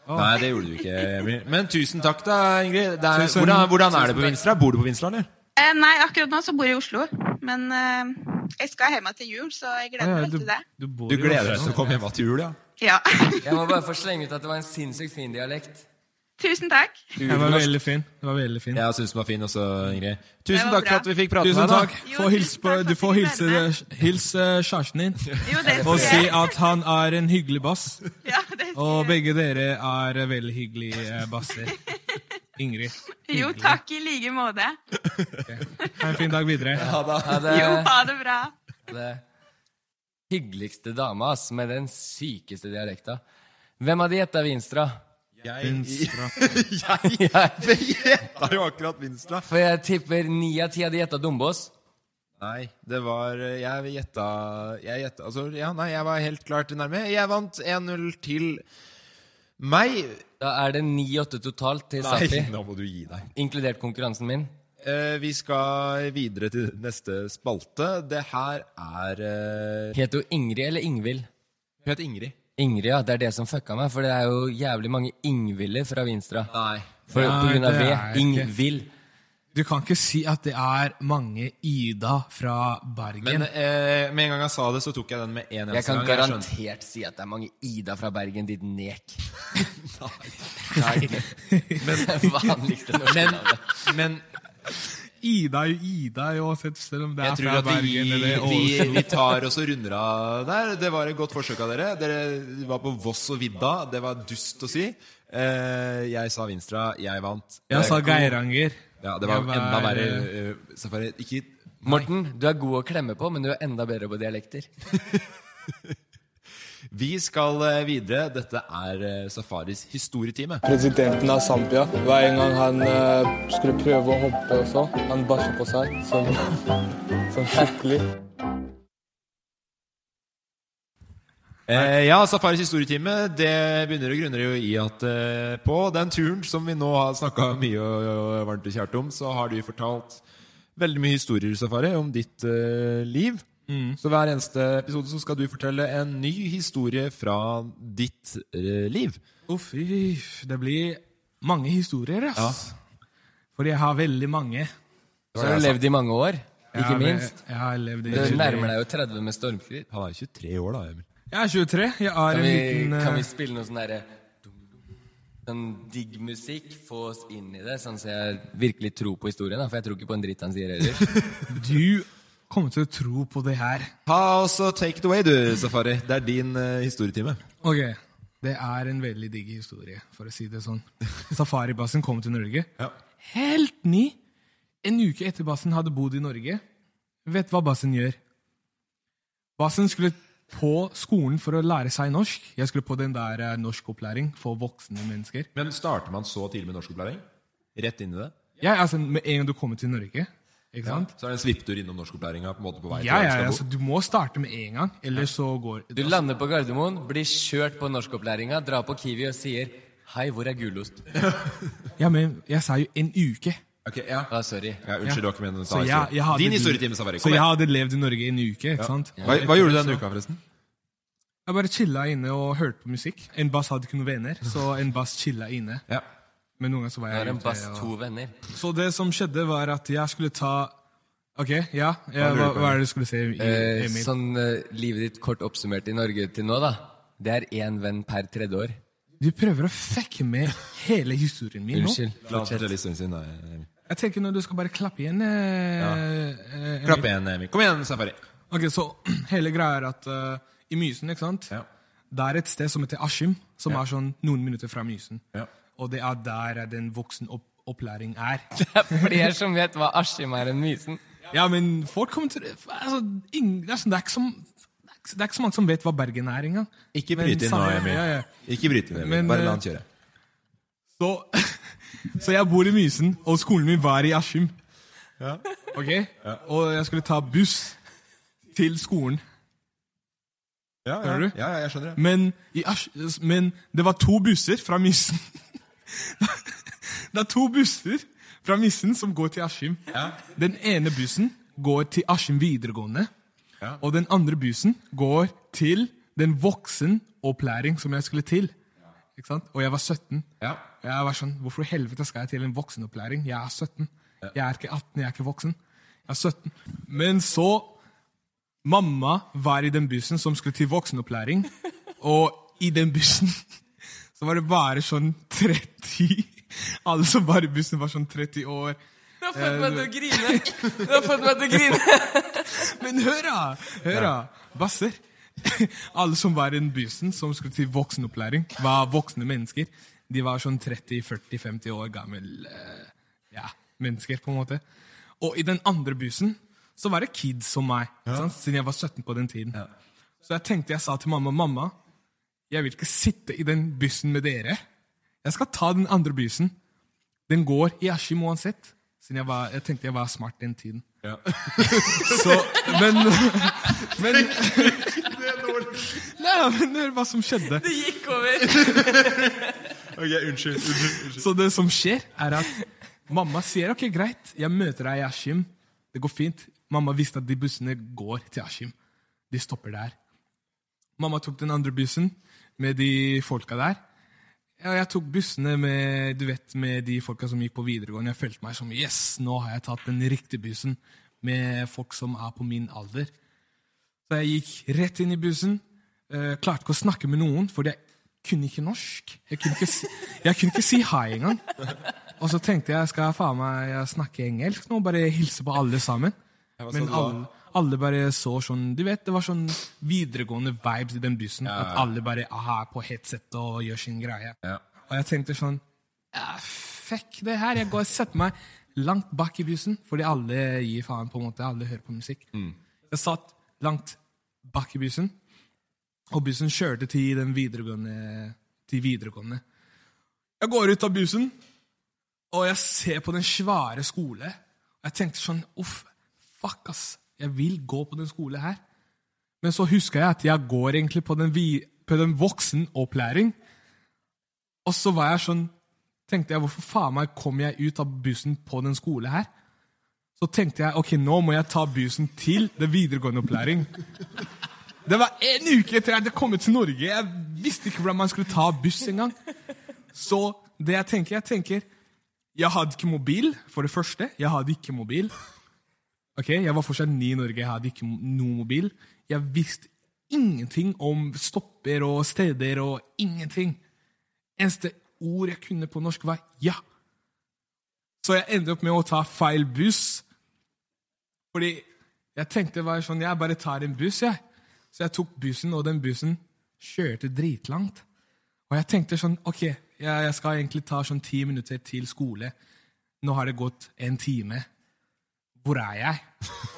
[SPEAKER 3] Eh, Nei, det gjorde du ikke, Emil. Men tusen takk, da, Ingrid. Det er,
[SPEAKER 5] Tusen-
[SPEAKER 3] hvordan, hvordan
[SPEAKER 5] tusen
[SPEAKER 3] er det på
[SPEAKER 5] takk.
[SPEAKER 3] Vinstra? Bor du på Vinstra, eller?
[SPEAKER 12] Eh, nei, akkurat nå så bor jeg i Oslo. Men eh, jeg skal hjem til jul, så jeg gleder meg
[SPEAKER 5] Ja, ja,
[SPEAKER 12] veldig til det.
[SPEAKER 5] bor
[SPEAKER 3] Du
[SPEAKER 5] jo
[SPEAKER 3] gleder
[SPEAKER 5] også
[SPEAKER 3] deg til å
[SPEAKER 5] nå.
[SPEAKER 3] komme hjem til jul, ja?
[SPEAKER 12] Ja.
[SPEAKER 4] Jeg må bare få slenge ut at det var en sinnssykt fin dialekt.
[SPEAKER 12] Tusen takk.
[SPEAKER 5] Det var veldig fin. Det var veldig fin.
[SPEAKER 3] Jeg syns den var fin også, Ingrid. Tusen
[SPEAKER 12] Det var
[SPEAKER 3] takk for
[SPEAKER 12] bra.
[SPEAKER 3] at vi fikk prate
[SPEAKER 5] Tusen
[SPEAKER 3] med deg.
[SPEAKER 5] takk.
[SPEAKER 3] da.
[SPEAKER 12] Jo,
[SPEAKER 5] Få hilse
[SPEAKER 12] tusen
[SPEAKER 5] på,
[SPEAKER 12] takk for
[SPEAKER 5] du
[SPEAKER 12] at
[SPEAKER 5] får
[SPEAKER 12] du
[SPEAKER 5] hilse,
[SPEAKER 12] ville
[SPEAKER 5] hils eh, kjæresten din.
[SPEAKER 12] Jo, det
[SPEAKER 5] Og
[SPEAKER 12] skal
[SPEAKER 5] si
[SPEAKER 12] jeg.
[SPEAKER 5] at han er en hyggelig bass.
[SPEAKER 12] Ja, det skal
[SPEAKER 5] Og
[SPEAKER 12] jeg.
[SPEAKER 5] begge dere er veldig hyggelige eh, basser. Ingrid.
[SPEAKER 12] Jo,
[SPEAKER 5] hyggelig.
[SPEAKER 12] takk i like måte.
[SPEAKER 5] Ha en fin dag videre.
[SPEAKER 4] Ha det.
[SPEAKER 12] Jo, ha det bra.
[SPEAKER 4] det hyggeligste dama, ass, med den sykeste dialekta. Hvem hadde gjetta Vinstra?
[SPEAKER 5] Vinstra.
[SPEAKER 3] Jeg gjetta jo akkurat Vinstra.
[SPEAKER 4] For jeg tipper ni av ti hadde gjetta Dombås.
[SPEAKER 3] Nei, det var eh, Jeg gjetta Jeg gjetta Altså, ja, nei, jeg var helt klart nærme. Jeg vant 1-0 til meg.
[SPEAKER 4] Da er det 9-8 totalt til Safi,
[SPEAKER 3] nå må du gi deg.
[SPEAKER 4] inkludert konkurransen min.
[SPEAKER 3] Eh, vi skal videre til neste spalte. Det her er uh,
[SPEAKER 4] Het hun Ingrid eller Ingvild?
[SPEAKER 3] Hun heter Ingrid.
[SPEAKER 4] Ingrid, ja. Det er det som fucka meg, for det er jo jævlig mange Ingviller fra Vinstra.
[SPEAKER 3] Nei.
[SPEAKER 4] For, på
[SPEAKER 5] Nei,
[SPEAKER 4] grunn av
[SPEAKER 5] det
[SPEAKER 4] V.
[SPEAKER 5] er ikke-
[SPEAKER 4] Ingvild.
[SPEAKER 5] Du kan ikke si at det er mange Ida fra Bergen.
[SPEAKER 3] Men eh, med en gang jeg sa det, så tok jeg den med en
[SPEAKER 4] Jeg
[SPEAKER 3] eneste
[SPEAKER 4] kan
[SPEAKER 3] gang. skjønte-
[SPEAKER 4] garantert si at det er mange Ida fra Bergen, ditt nek. Nei. Men vanligste norske
[SPEAKER 3] Men,
[SPEAKER 4] navnet.
[SPEAKER 3] men
[SPEAKER 5] Ida er jo Ida uansett, selv om det er
[SPEAKER 3] jeg tror
[SPEAKER 5] fra
[SPEAKER 3] at vi,
[SPEAKER 5] Bergen eller
[SPEAKER 3] vi,
[SPEAKER 5] Ålesund.
[SPEAKER 3] vi tar oss og runder av der. Det var et godt forsøk av dere. Dere var på Voss og Vidda. Det var dust å si. Eh, jeg sa Vinstra. Jeg vant.
[SPEAKER 5] Jeg sa
[SPEAKER 3] Det kom-
[SPEAKER 5] Geiranger.
[SPEAKER 3] Ja, det var
[SPEAKER 5] Jeg var-
[SPEAKER 3] enda verre. eh, Safari, ikke
[SPEAKER 4] Morten, du er god å klemme på, men du er enda bedre på dialekter.
[SPEAKER 3] Vi skal eh, videre. Dette er eh, Safaris historietime.
[SPEAKER 6] Presidenten av Zambia, hver gang han eh, skulle prøve å hoppe og så, han bæsja på seg sånn, sånn skikkelig.
[SPEAKER 3] Eh, ja, Safaris historietime Det begynner og grunner jo i at eh, på den turen som vi nå har snakka mye og, og varmt og kjært om, så har du fortalt veldig mye historier Safari, om ditt eh, liv. Så hver eneste episode så skal du fortelle en ny historie fra ditt eh, liv.
[SPEAKER 5] Uff, uff, det blir mange historier, ass. Fordi jeg har veldig mange.
[SPEAKER 4] Så har du levd i mange år,
[SPEAKER 5] Jeg
[SPEAKER 4] ikke
[SPEAKER 5] har-
[SPEAKER 4] minst.
[SPEAKER 5] Jeg har levd i
[SPEAKER 4] Du nærmer deg jo 30 med stormskritt.
[SPEAKER 3] Han er 23 år, da, Emil.
[SPEAKER 5] Jeg er 23. Jeg er
[SPEAKER 4] Kan
[SPEAKER 5] en
[SPEAKER 4] vi,
[SPEAKER 5] liten eh,
[SPEAKER 4] kan vi spille noe sånn derre Sånn digg musikk, få oss inn i det, sånn så jeg virkelig tror på historien. da, For jeg tror ikke på en dritt han sier heller.
[SPEAKER 5] Du kommer til å tro på det her.
[SPEAKER 3] Ta også Take it away, du, Safari. Det er din eh, historietime.
[SPEAKER 5] Ok, Det er en veldig digg historie, for å si det sånn. Safaribassen kom til Norge. Helt ny! En uke etter bassen hadde bodd i Norge. Vet hva bassen gjør? Bassen skulle på skolen for å lære seg norsk. Jeg skulle på den der eh, norskopplæring for voksne mennesker.
[SPEAKER 3] Men starter man så tidlig med norskopplæring? Rett inn i det?
[SPEAKER 5] Jeg, altså, Med en gang du kommer til Norge ikke sant?
[SPEAKER 3] Ja, Så er det en svipptur innom norskopplæringa på, en måte på vei
[SPEAKER 5] Ja,
[SPEAKER 3] til
[SPEAKER 5] ja,
[SPEAKER 3] der
[SPEAKER 5] ja,
[SPEAKER 3] du
[SPEAKER 5] altså,
[SPEAKER 3] skal bo?
[SPEAKER 5] Du må starte med en gang, ellers så går
[SPEAKER 4] Du lander på Gardermoen, blir kjørt på norskopplæringa, drar på Kiwi og sier 'Hei, hvor er gulost?'
[SPEAKER 5] Ja, men jeg sa jo en uke.
[SPEAKER 3] Ok, ja.
[SPEAKER 4] Ah, sorry.
[SPEAKER 3] Ja, unnskyld, det var ikke meningen å ta
[SPEAKER 5] Så jeg,
[SPEAKER 3] historie.
[SPEAKER 5] jeg hadde
[SPEAKER 3] Din
[SPEAKER 5] levd-
[SPEAKER 3] historietime, Safari.
[SPEAKER 5] Så
[SPEAKER 3] Kom
[SPEAKER 5] jeg
[SPEAKER 3] igjen.
[SPEAKER 5] hadde levd i Norge en uke, ikke
[SPEAKER 3] Ja.
[SPEAKER 5] sant?
[SPEAKER 3] Hva, hva gjorde du denne uka, forresten?
[SPEAKER 5] Jeg bare chilla inne og hørte på musikk. En bass hadde ikke noen venner, så en bass chilla inne. Men noen ganger så var
[SPEAKER 4] Nå
[SPEAKER 5] jeg
[SPEAKER 4] er en
[SPEAKER 5] ute
[SPEAKER 4] bass
[SPEAKER 5] og-
[SPEAKER 4] to venner.
[SPEAKER 5] Så det som skjedde, var at jeg skulle ta Ok, ja. ja
[SPEAKER 4] lurer
[SPEAKER 5] hva,
[SPEAKER 4] på?
[SPEAKER 5] hva er det du skulle si?
[SPEAKER 4] Eh,
[SPEAKER 5] Emil?
[SPEAKER 4] sånn eh, livet ditt kort oppsummert i Norge til nå, da. Det er én venn per tredje år.
[SPEAKER 5] Du prøver å fucke med hele historien min nå.
[SPEAKER 4] Unnskyld.
[SPEAKER 3] La oss fortelle historien sin, da. Emil.
[SPEAKER 5] Jeg tenker når du skal bare klappe igjen. Eh,
[SPEAKER 3] Ja.
[SPEAKER 5] eh, Emil.
[SPEAKER 3] Klapp igjen, Emil. Kom igjen, Safari.
[SPEAKER 5] Ok, så hele greia er at eh, i Mysen, ikke sant? Det er et sted som heter Askim, som
[SPEAKER 3] Ja.
[SPEAKER 5] er sånn noen minutter fra Mysen.
[SPEAKER 3] Ja.
[SPEAKER 5] Og det er der eh, den voksenopplæring er.
[SPEAKER 4] Flere som vet hva Askim er enn Mysen.
[SPEAKER 5] ja, men folk kommer til altså, ingen, det, er sånn, det, er ikke som, det er ikke- det er ikke så mange som vet hva Bergen er engang.
[SPEAKER 3] Ikke
[SPEAKER 5] Men
[SPEAKER 3] bryt inn nå,
[SPEAKER 5] samme-
[SPEAKER 3] Emil.
[SPEAKER 5] Ja, ja.
[SPEAKER 3] Ikke bryt inn, Emil.
[SPEAKER 5] Men,
[SPEAKER 3] Bare
[SPEAKER 5] eh,
[SPEAKER 3] la han kjøre.
[SPEAKER 5] Så, så jeg bor i Mysen, og skolen min var i Askim. Ok? Og jeg skulle ta buss til skolen.
[SPEAKER 3] Ja, ja.
[SPEAKER 5] Hører du?
[SPEAKER 3] Ja, ja, jeg skjønner det.
[SPEAKER 5] Men, i Asch, men det var to busser fra Mysen. det er to busser fra Mysen som går til Askim. Den ene bussen går til Askim videregående, og den andre bussen går til den voksenopplæring som jeg skulle til. Ikke sant? Og jeg var 17. Jeg var sånn, Hvorfor i helvete skal jeg til en voksenopplæring? Jeg er 17. Jeg er ikke 18, jeg er ikke voksen. Jeg er 17. Men så Mamma var i den bussen som skulle til voksenopplæring, og i den bussen så var det bare sånn 30 Alle som var i bussen, var sånn 30 år.
[SPEAKER 4] Du har fått meg til å grine! Du har fått meg til å grine!
[SPEAKER 5] Men hør, da! Hør, da! Basser. Alle som var i den bussen som skulle til voksenopplæring, var voksne mennesker. De var sånn 30-40-50 år gammel eh, ja, mennesker, på en måte. Og i den andre bussen så var det kids som meg, ikke sant? siden jeg var 17 på den tiden. Så jeg tenkte jeg sa til mamma mamma, jeg vil ikke sitte i den bussen med dere. Jeg skal ta den andre bussen. Den går i Askim uansett. Siden jeg, var, jeg tenkte jeg var smart den tiden. Så, men Men Nei, men hør hva som skjedde.
[SPEAKER 4] Det gikk over.
[SPEAKER 3] Ok, unnskyld. unnskyld, unnskyld.
[SPEAKER 5] Så det som skjer, er at mamma sier ok, greit, jeg møter deg i Askim. Det går fint. Mamma visste at de bussene går til Askim. De stopper der. Mamma tok den andre bussen med de folka der. Ja, jeg tok bussene med, du vet, med de folka som gikk på videregående. Jeg følte meg som yes, nå har jeg tatt den riktige bussen med folk som er på min alder. Så jeg gikk rett inn i bussen. eh, klarte ikke å snakke med noen, fordi jeg kunne ikke norsk. Jeg kunne ikke si, jeg kunne ikke si hei engang. Og så tenkte jeg skal jeg faen meg eh, snakke engelsk nå, bare hilse på alle sammen.
[SPEAKER 3] Ja, hva sa
[SPEAKER 5] Men
[SPEAKER 3] du da?
[SPEAKER 5] alle, alle bare så sånn Du vet, det var sånn videregående vibes i den bussen.
[SPEAKER 3] Ja, ja, ja.
[SPEAKER 5] At alle bare aha, er på headset og gjør sin greie. Og jeg tenkte sånn «Ah, Fuck det her. Jeg går og setter meg langt bak i bussen, fordi alle gir faen, på en måte. Alle hører på musikk.
[SPEAKER 3] Mm.
[SPEAKER 5] Jeg satt langt bak i bussen, og bussen kjørte til den videregående. Til videregående. Jeg går ut av bussen, og jeg ser på den svære skole. Og jeg tenkte sånn Uff, fuck, ass. Jeg vil gå på den skole her. Men så huska jeg at jeg går egentlig på den, vi, på den voksenopplæring. Og så var jeg sånn Tenkte jeg, hvorfor faen meg kom jeg ut av bussen på den skole her? Så tenkte jeg, ok, nå må jeg ta bussen til det videregående opplæring. Det var en uke etter jeg hadde kommet til Norge. Jeg visste ikke hvordan man skulle ta buss engang. Så det jeg tenker, jeg tenker Jeg hadde ikke mobil, for det første. Jeg hadde ikke mobil. Ok, Jeg var fortsatt ny i Norge, jeg hadde ikke noe mobil. Jeg visste ingenting om stopper og steder og ingenting. Eneste ord jeg kunne på norsk, var ja. Så jeg endte opp med å ta feil buss. Fordi Jeg tenkte bare sånn, jeg bare tar en buss, jeg. Så jeg tok bussen, og den bussen kjørte dritlangt. Og jeg tenkte sånn, ok, jeg, jeg skal egentlig ta sånn ti minutter til skole. Nå har det gått en time. Hvor er jeg?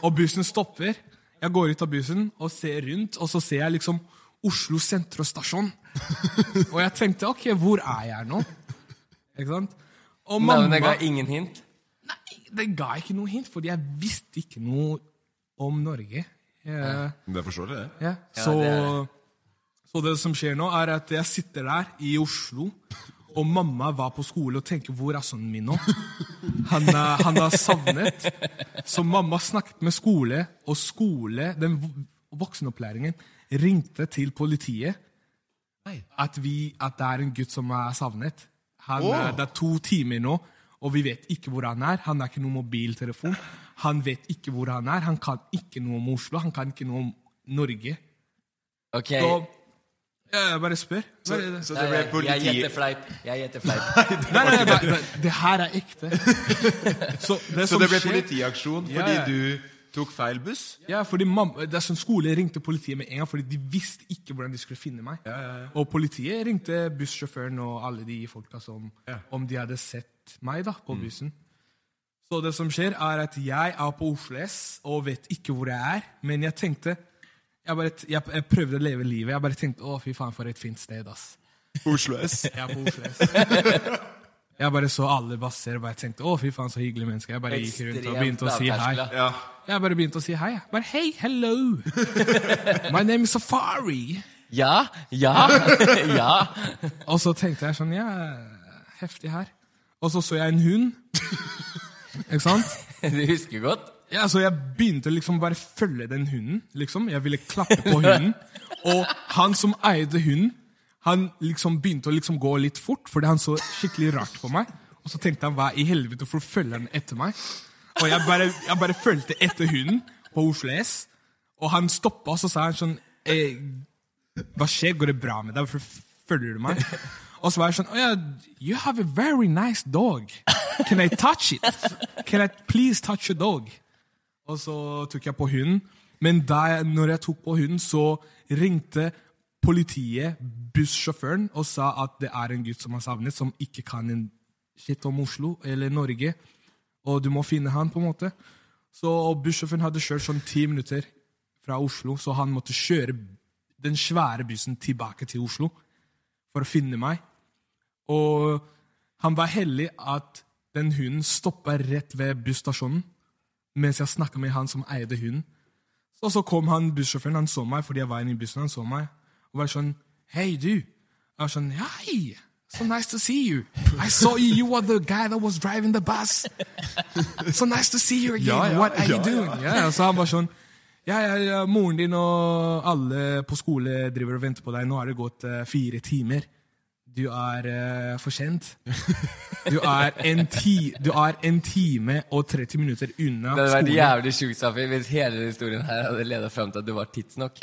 [SPEAKER 5] Og bussen stopper. Jeg går ut av bussen og ser rundt, og så ser jeg liksom Oslo sentrumstasjon. Og jeg tenkte, ok, hvor er jeg nå? Ikke sant? Og
[SPEAKER 4] Nei, men det ga ingen hint?
[SPEAKER 5] Nei, det ga ikke noe hint, fordi jeg visste ikke noe om Norge. Jeg,
[SPEAKER 3] Det forstår jeg, det.
[SPEAKER 5] ja. Så, så det som skjer nå, er at jeg sitter der i Oslo, og mamma var på skole og tenker 'hvor er sønnen min nå?' Han er, han er savnet. Så mamma snakket med skole, og skole, den vo- voksenopplæringen, ringte til politiet at, vi, at det er en gutt som er savnet. Han,
[SPEAKER 3] Åh.
[SPEAKER 5] er- Det er to timer nå, og vi vet ikke hvor han er. Han har ikke noen mobiltelefon. Han vet ikke hvor han er. Han kan ikke noe om Oslo. Han kan ikke noe om Norge.
[SPEAKER 4] Ok.
[SPEAKER 5] Så ja, jeg bare spør. Bare,
[SPEAKER 3] Eh, så det ble politi-
[SPEAKER 4] Jeg gjetter fleip. Jeg gjetter fleip.
[SPEAKER 5] Nei, nei, nei, nei, det her er ekte. Så
[SPEAKER 3] Så
[SPEAKER 5] som
[SPEAKER 3] det ble
[SPEAKER 5] skjer-
[SPEAKER 3] politiaksjon fordi
[SPEAKER 5] Ja, ja.
[SPEAKER 3] du tok feil buss?
[SPEAKER 5] Ja, fordi mamma, det er sånn skole ringte politiet med en gang, fordi de visste ikke hvordan de skulle finne meg. Og politiet ringte bussjåføren og alle de folka som Om de hadde sett meg da,
[SPEAKER 3] Mm.
[SPEAKER 5] på bussen. Så det som skjer, er at jeg er på Oslo S og vet ikke hvor jeg er. Men jeg tenkte Jeg, bare, t- jeg, jeg prøvde å leve livet. Jeg bare tenkte å, fy faen, for et fint sted, ass.
[SPEAKER 3] Oslo S.
[SPEAKER 5] Jeg er på Oslo S. Jeg bare så alle basser og bare tenkte å, fy faen, så hyggelig menneske. Jeg bare gikk rundt og begynte å si hei.
[SPEAKER 4] Ekstremt lavterskel,
[SPEAKER 3] ja.
[SPEAKER 5] Jeg bare begynte å si hei. jeg. Bare hei, hello! My name is Safari!
[SPEAKER 4] Ja, ja, ja.
[SPEAKER 5] Og så tenkte jeg sånn, ja, heftig her. Og så så jeg en hund. Ikke sant?
[SPEAKER 4] Du husker godt?
[SPEAKER 5] Ja, så jeg begynte liksom bare følge den hunden, liksom. Jeg ville klappe på hunden. Og han som eide hunden, han liksom begynte å liksom gå litt fort, fordi han så skikkelig rart på meg. Og så tenkte han, hva i helvete, hvorfor følger han etter meg? Og jeg bare, jeg bare følte etter hunden på Oslo S, og han stoppa, og så sa han sånn, eh, hva skjer, går det bra med deg, hvorfor følger du meg? Og så var jeg sånn, oh, yeah, you have a very nice dog. Can I touch it? Can I please touch your dog? Og så tok jeg på hunden. Men da jeg, når jeg tok på hunden, så ringte politiet bussjåføren og sa at det er en gutt som har savnet, som ikke kan en shit om Oslo eller Norge. Og du må finne han, på en måte. Så og bussjåføren hadde kjørt sånn ti minutter fra Oslo, så han måtte kjøre den svære bussen tilbake til Oslo for å finne meg. Og han var heldig at den hunden stoppa rett ved busstasjonen mens jeg snakka med han som eide hunden. Så, så kom han bussjåføren, han så meg fordi jeg var inne i bussen, han så meg, og var sånn Hei, du. Jeg var sånn Hei! So nice to see you. I saw you, you were the guy that was driving the bus. So nice to see you again.
[SPEAKER 1] Ja, ja,
[SPEAKER 5] What are
[SPEAKER 1] ja,
[SPEAKER 5] you doing?
[SPEAKER 1] ja.
[SPEAKER 5] Ja, ja, så han var sånn ja, ja, ja, moren din og alle på skole driver og venter på deg. Nå har det gått eh, fire timer. Du er eh, for sent. Du er, en ti, du er en time og 30 minutter unna
[SPEAKER 4] Det hadde vært
[SPEAKER 5] skolen.
[SPEAKER 4] jævlig sjukt, Safi, hvis hele den historien her hadde ledet frem til at du var tidsnok.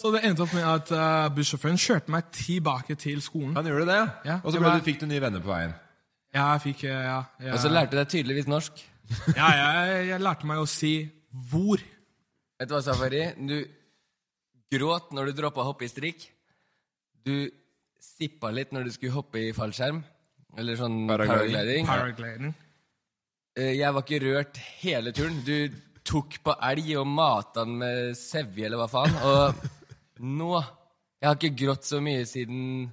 [SPEAKER 5] Så det endte opp med at eh, bussjåføren kjørte meg tilbake til skolen.
[SPEAKER 3] Han gjorde det, ja. Og så
[SPEAKER 5] det
[SPEAKER 3] ble
[SPEAKER 5] var-
[SPEAKER 3] du, fikk du nye venner på veien.
[SPEAKER 5] Ja, jeg fikk eh, ja, ja.
[SPEAKER 4] Og så lærte du deg tydeligvis norsk.
[SPEAKER 5] Ja, jeg, jeg lærte meg å si 'hvor'.
[SPEAKER 4] Vet du hva, Safari? Du gråt når du droppa å hoppe i strikk. Du sippa litt når du skulle hoppe i fallskjerm. Eller sånn paragliding.
[SPEAKER 5] Paragliding.
[SPEAKER 4] Eh, Jeg var ikke rørt hele turen. Du tok på elg og mata den med Eh, sevje, eller hva faen. Og nå Jeg har ikke grått så mye siden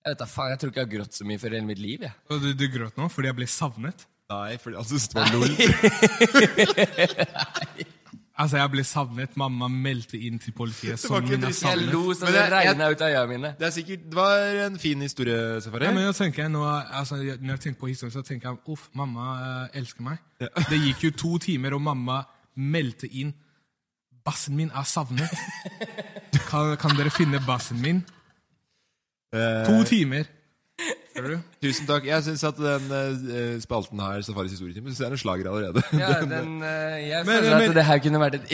[SPEAKER 4] Jeg vet da faen, jeg tror ikke jeg har grått så mye for hele mitt liv, jeg.
[SPEAKER 5] Og du, du gråt nå fordi jeg ble savnet?
[SPEAKER 3] Nei, fordi han syntes det var lol.
[SPEAKER 5] altså, jeg ble savnet. Mamma meldte inn til politiet.
[SPEAKER 3] var
[SPEAKER 5] Som
[SPEAKER 3] ikke
[SPEAKER 5] hun er
[SPEAKER 3] trist. Jeg
[SPEAKER 5] savnet.
[SPEAKER 3] lo så Men det jeg- jeg- regnet ut
[SPEAKER 4] av øya mine.
[SPEAKER 3] Det er sikkert, det var en fin historie, Safari.
[SPEAKER 5] Ja, men jeg tenker jeg nå, altså, jeg- når jeg tenker på historien, så tenker jeg uff, mamma eh, elsker meg. Det gikk jo to timer, og mamma meldte inn bassen min er savnet. Kan, kan dere finne bassen min?
[SPEAKER 3] Eh,
[SPEAKER 5] To timer.
[SPEAKER 3] Tusen takk. Jeg syns at den eh, spalten her, Safaris historietime, synes jeg er en slager allerede.
[SPEAKER 4] Ja,
[SPEAKER 3] Den-
[SPEAKER 4] den, eh, jeg
[SPEAKER 3] Men-
[SPEAKER 4] føler
[SPEAKER 3] men-
[SPEAKER 4] at det her kunne vært et,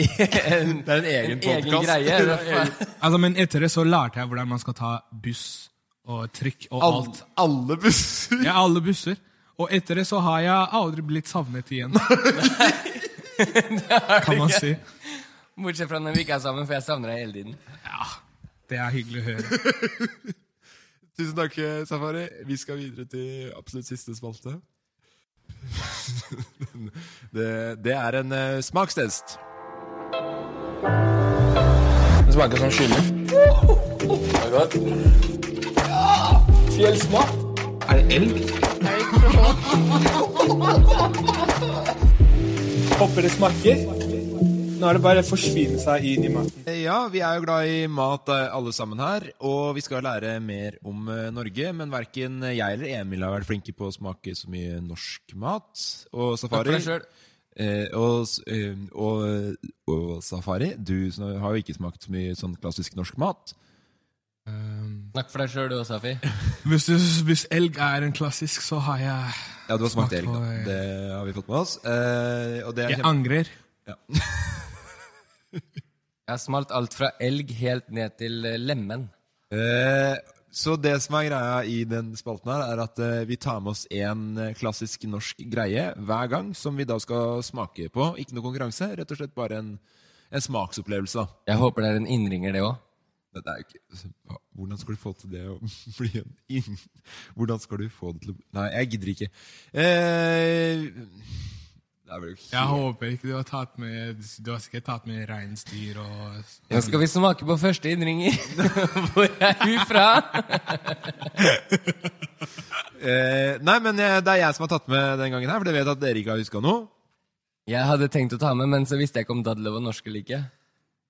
[SPEAKER 4] en,
[SPEAKER 3] Det er en egen podcast.
[SPEAKER 4] greie.
[SPEAKER 3] Det er en
[SPEAKER 5] Altså, men etter det så lærte jeg hvordan man skal ta buss og trykk og
[SPEAKER 3] Alle-
[SPEAKER 5] alt.
[SPEAKER 3] Alle busser?
[SPEAKER 5] Ja, alle busser. Og etter det så har jeg aldri blitt savnet igjen. Kan man si.
[SPEAKER 4] Bortsett fra når vi ikke er sammen, for jeg savner deg hele tiden.
[SPEAKER 5] Ja, Det er hyggelig å høre.
[SPEAKER 3] Tusen takk, Safari. Vi skal videre til absolutt siste spalte. det, det er en eh, smakstest.
[SPEAKER 7] Det smaker som kylling.
[SPEAKER 10] Er det godt?
[SPEAKER 7] Fjellsmak.
[SPEAKER 10] Er det elg?
[SPEAKER 6] Håper det smaker. Nå er det bare å forsvinne seg inn i maten.
[SPEAKER 3] Eh, Ja, vi er jo glad i mat eh, alle sammen her, og vi skal lære mer om eh, Norge. Men verken jeg eller Emil har vært flinke på å smake så mye norsk mat. Og Safari
[SPEAKER 4] Takk for deg selv.
[SPEAKER 3] eh, og, s- eh, og, og Safari, du som har jo ikke smakt så mye sånn klassisk norsk mat.
[SPEAKER 4] Snakk for deg sjøl, du òg, Safi.
[SPEAKER 5] Hvis, du- hvis elg er en klassisk, så har jeg
[SPEAKER 3] Ja, du har smakt elg,
[SPEAKER 5] på,
[SPEAKER 3] da.
[SPEAKER 5] eh,
[SPEAKER 3] Det har vi fått med oss. Eh, og det er
[SPEAKER 5] Jeg
[SPEAKER 3] kjempe-
[SPEAKER 5] angrer.
[SPEAKER 4] Jeg har smalt alt fra elg helt ned til eh, lemen.
[SPEAKER 3] Eh, så det som er greia i den spalten her, er at eh, vi tar med oss en eh, klassisk norsk greie hver gang, som vi da skal smake på. Ikke noe konkurranse, rett og slett bare en, en smaksopplevelse. da.
[SPEAKER 4] Jeg håper det er en innringer, det òg.
[SPEAKER 3] Det er jo ikke, altså, hva- hvordan skal du få til det å bli en inn... Hvordan skal du få det til å Nei, jeg gidder ikke. Eh, det er vel ikke
[SPEAKER 5] Jeg håper ikke du har tatt med Du har sikkert tatt med reinsdyr og
[SPEAKER 4] Nå skal vi smake på første innringer. Hvor er hun fra?
[SPEAKER 3] Eh, nei, men jeg, det er jeg som har tatt med den gangen her, for jeg vet at dere ikke har huska noe.
[SPEAKER 4] Jeg hadde tenkt å ta med, men så visste jeg ikke om dadler var norske eller ikke.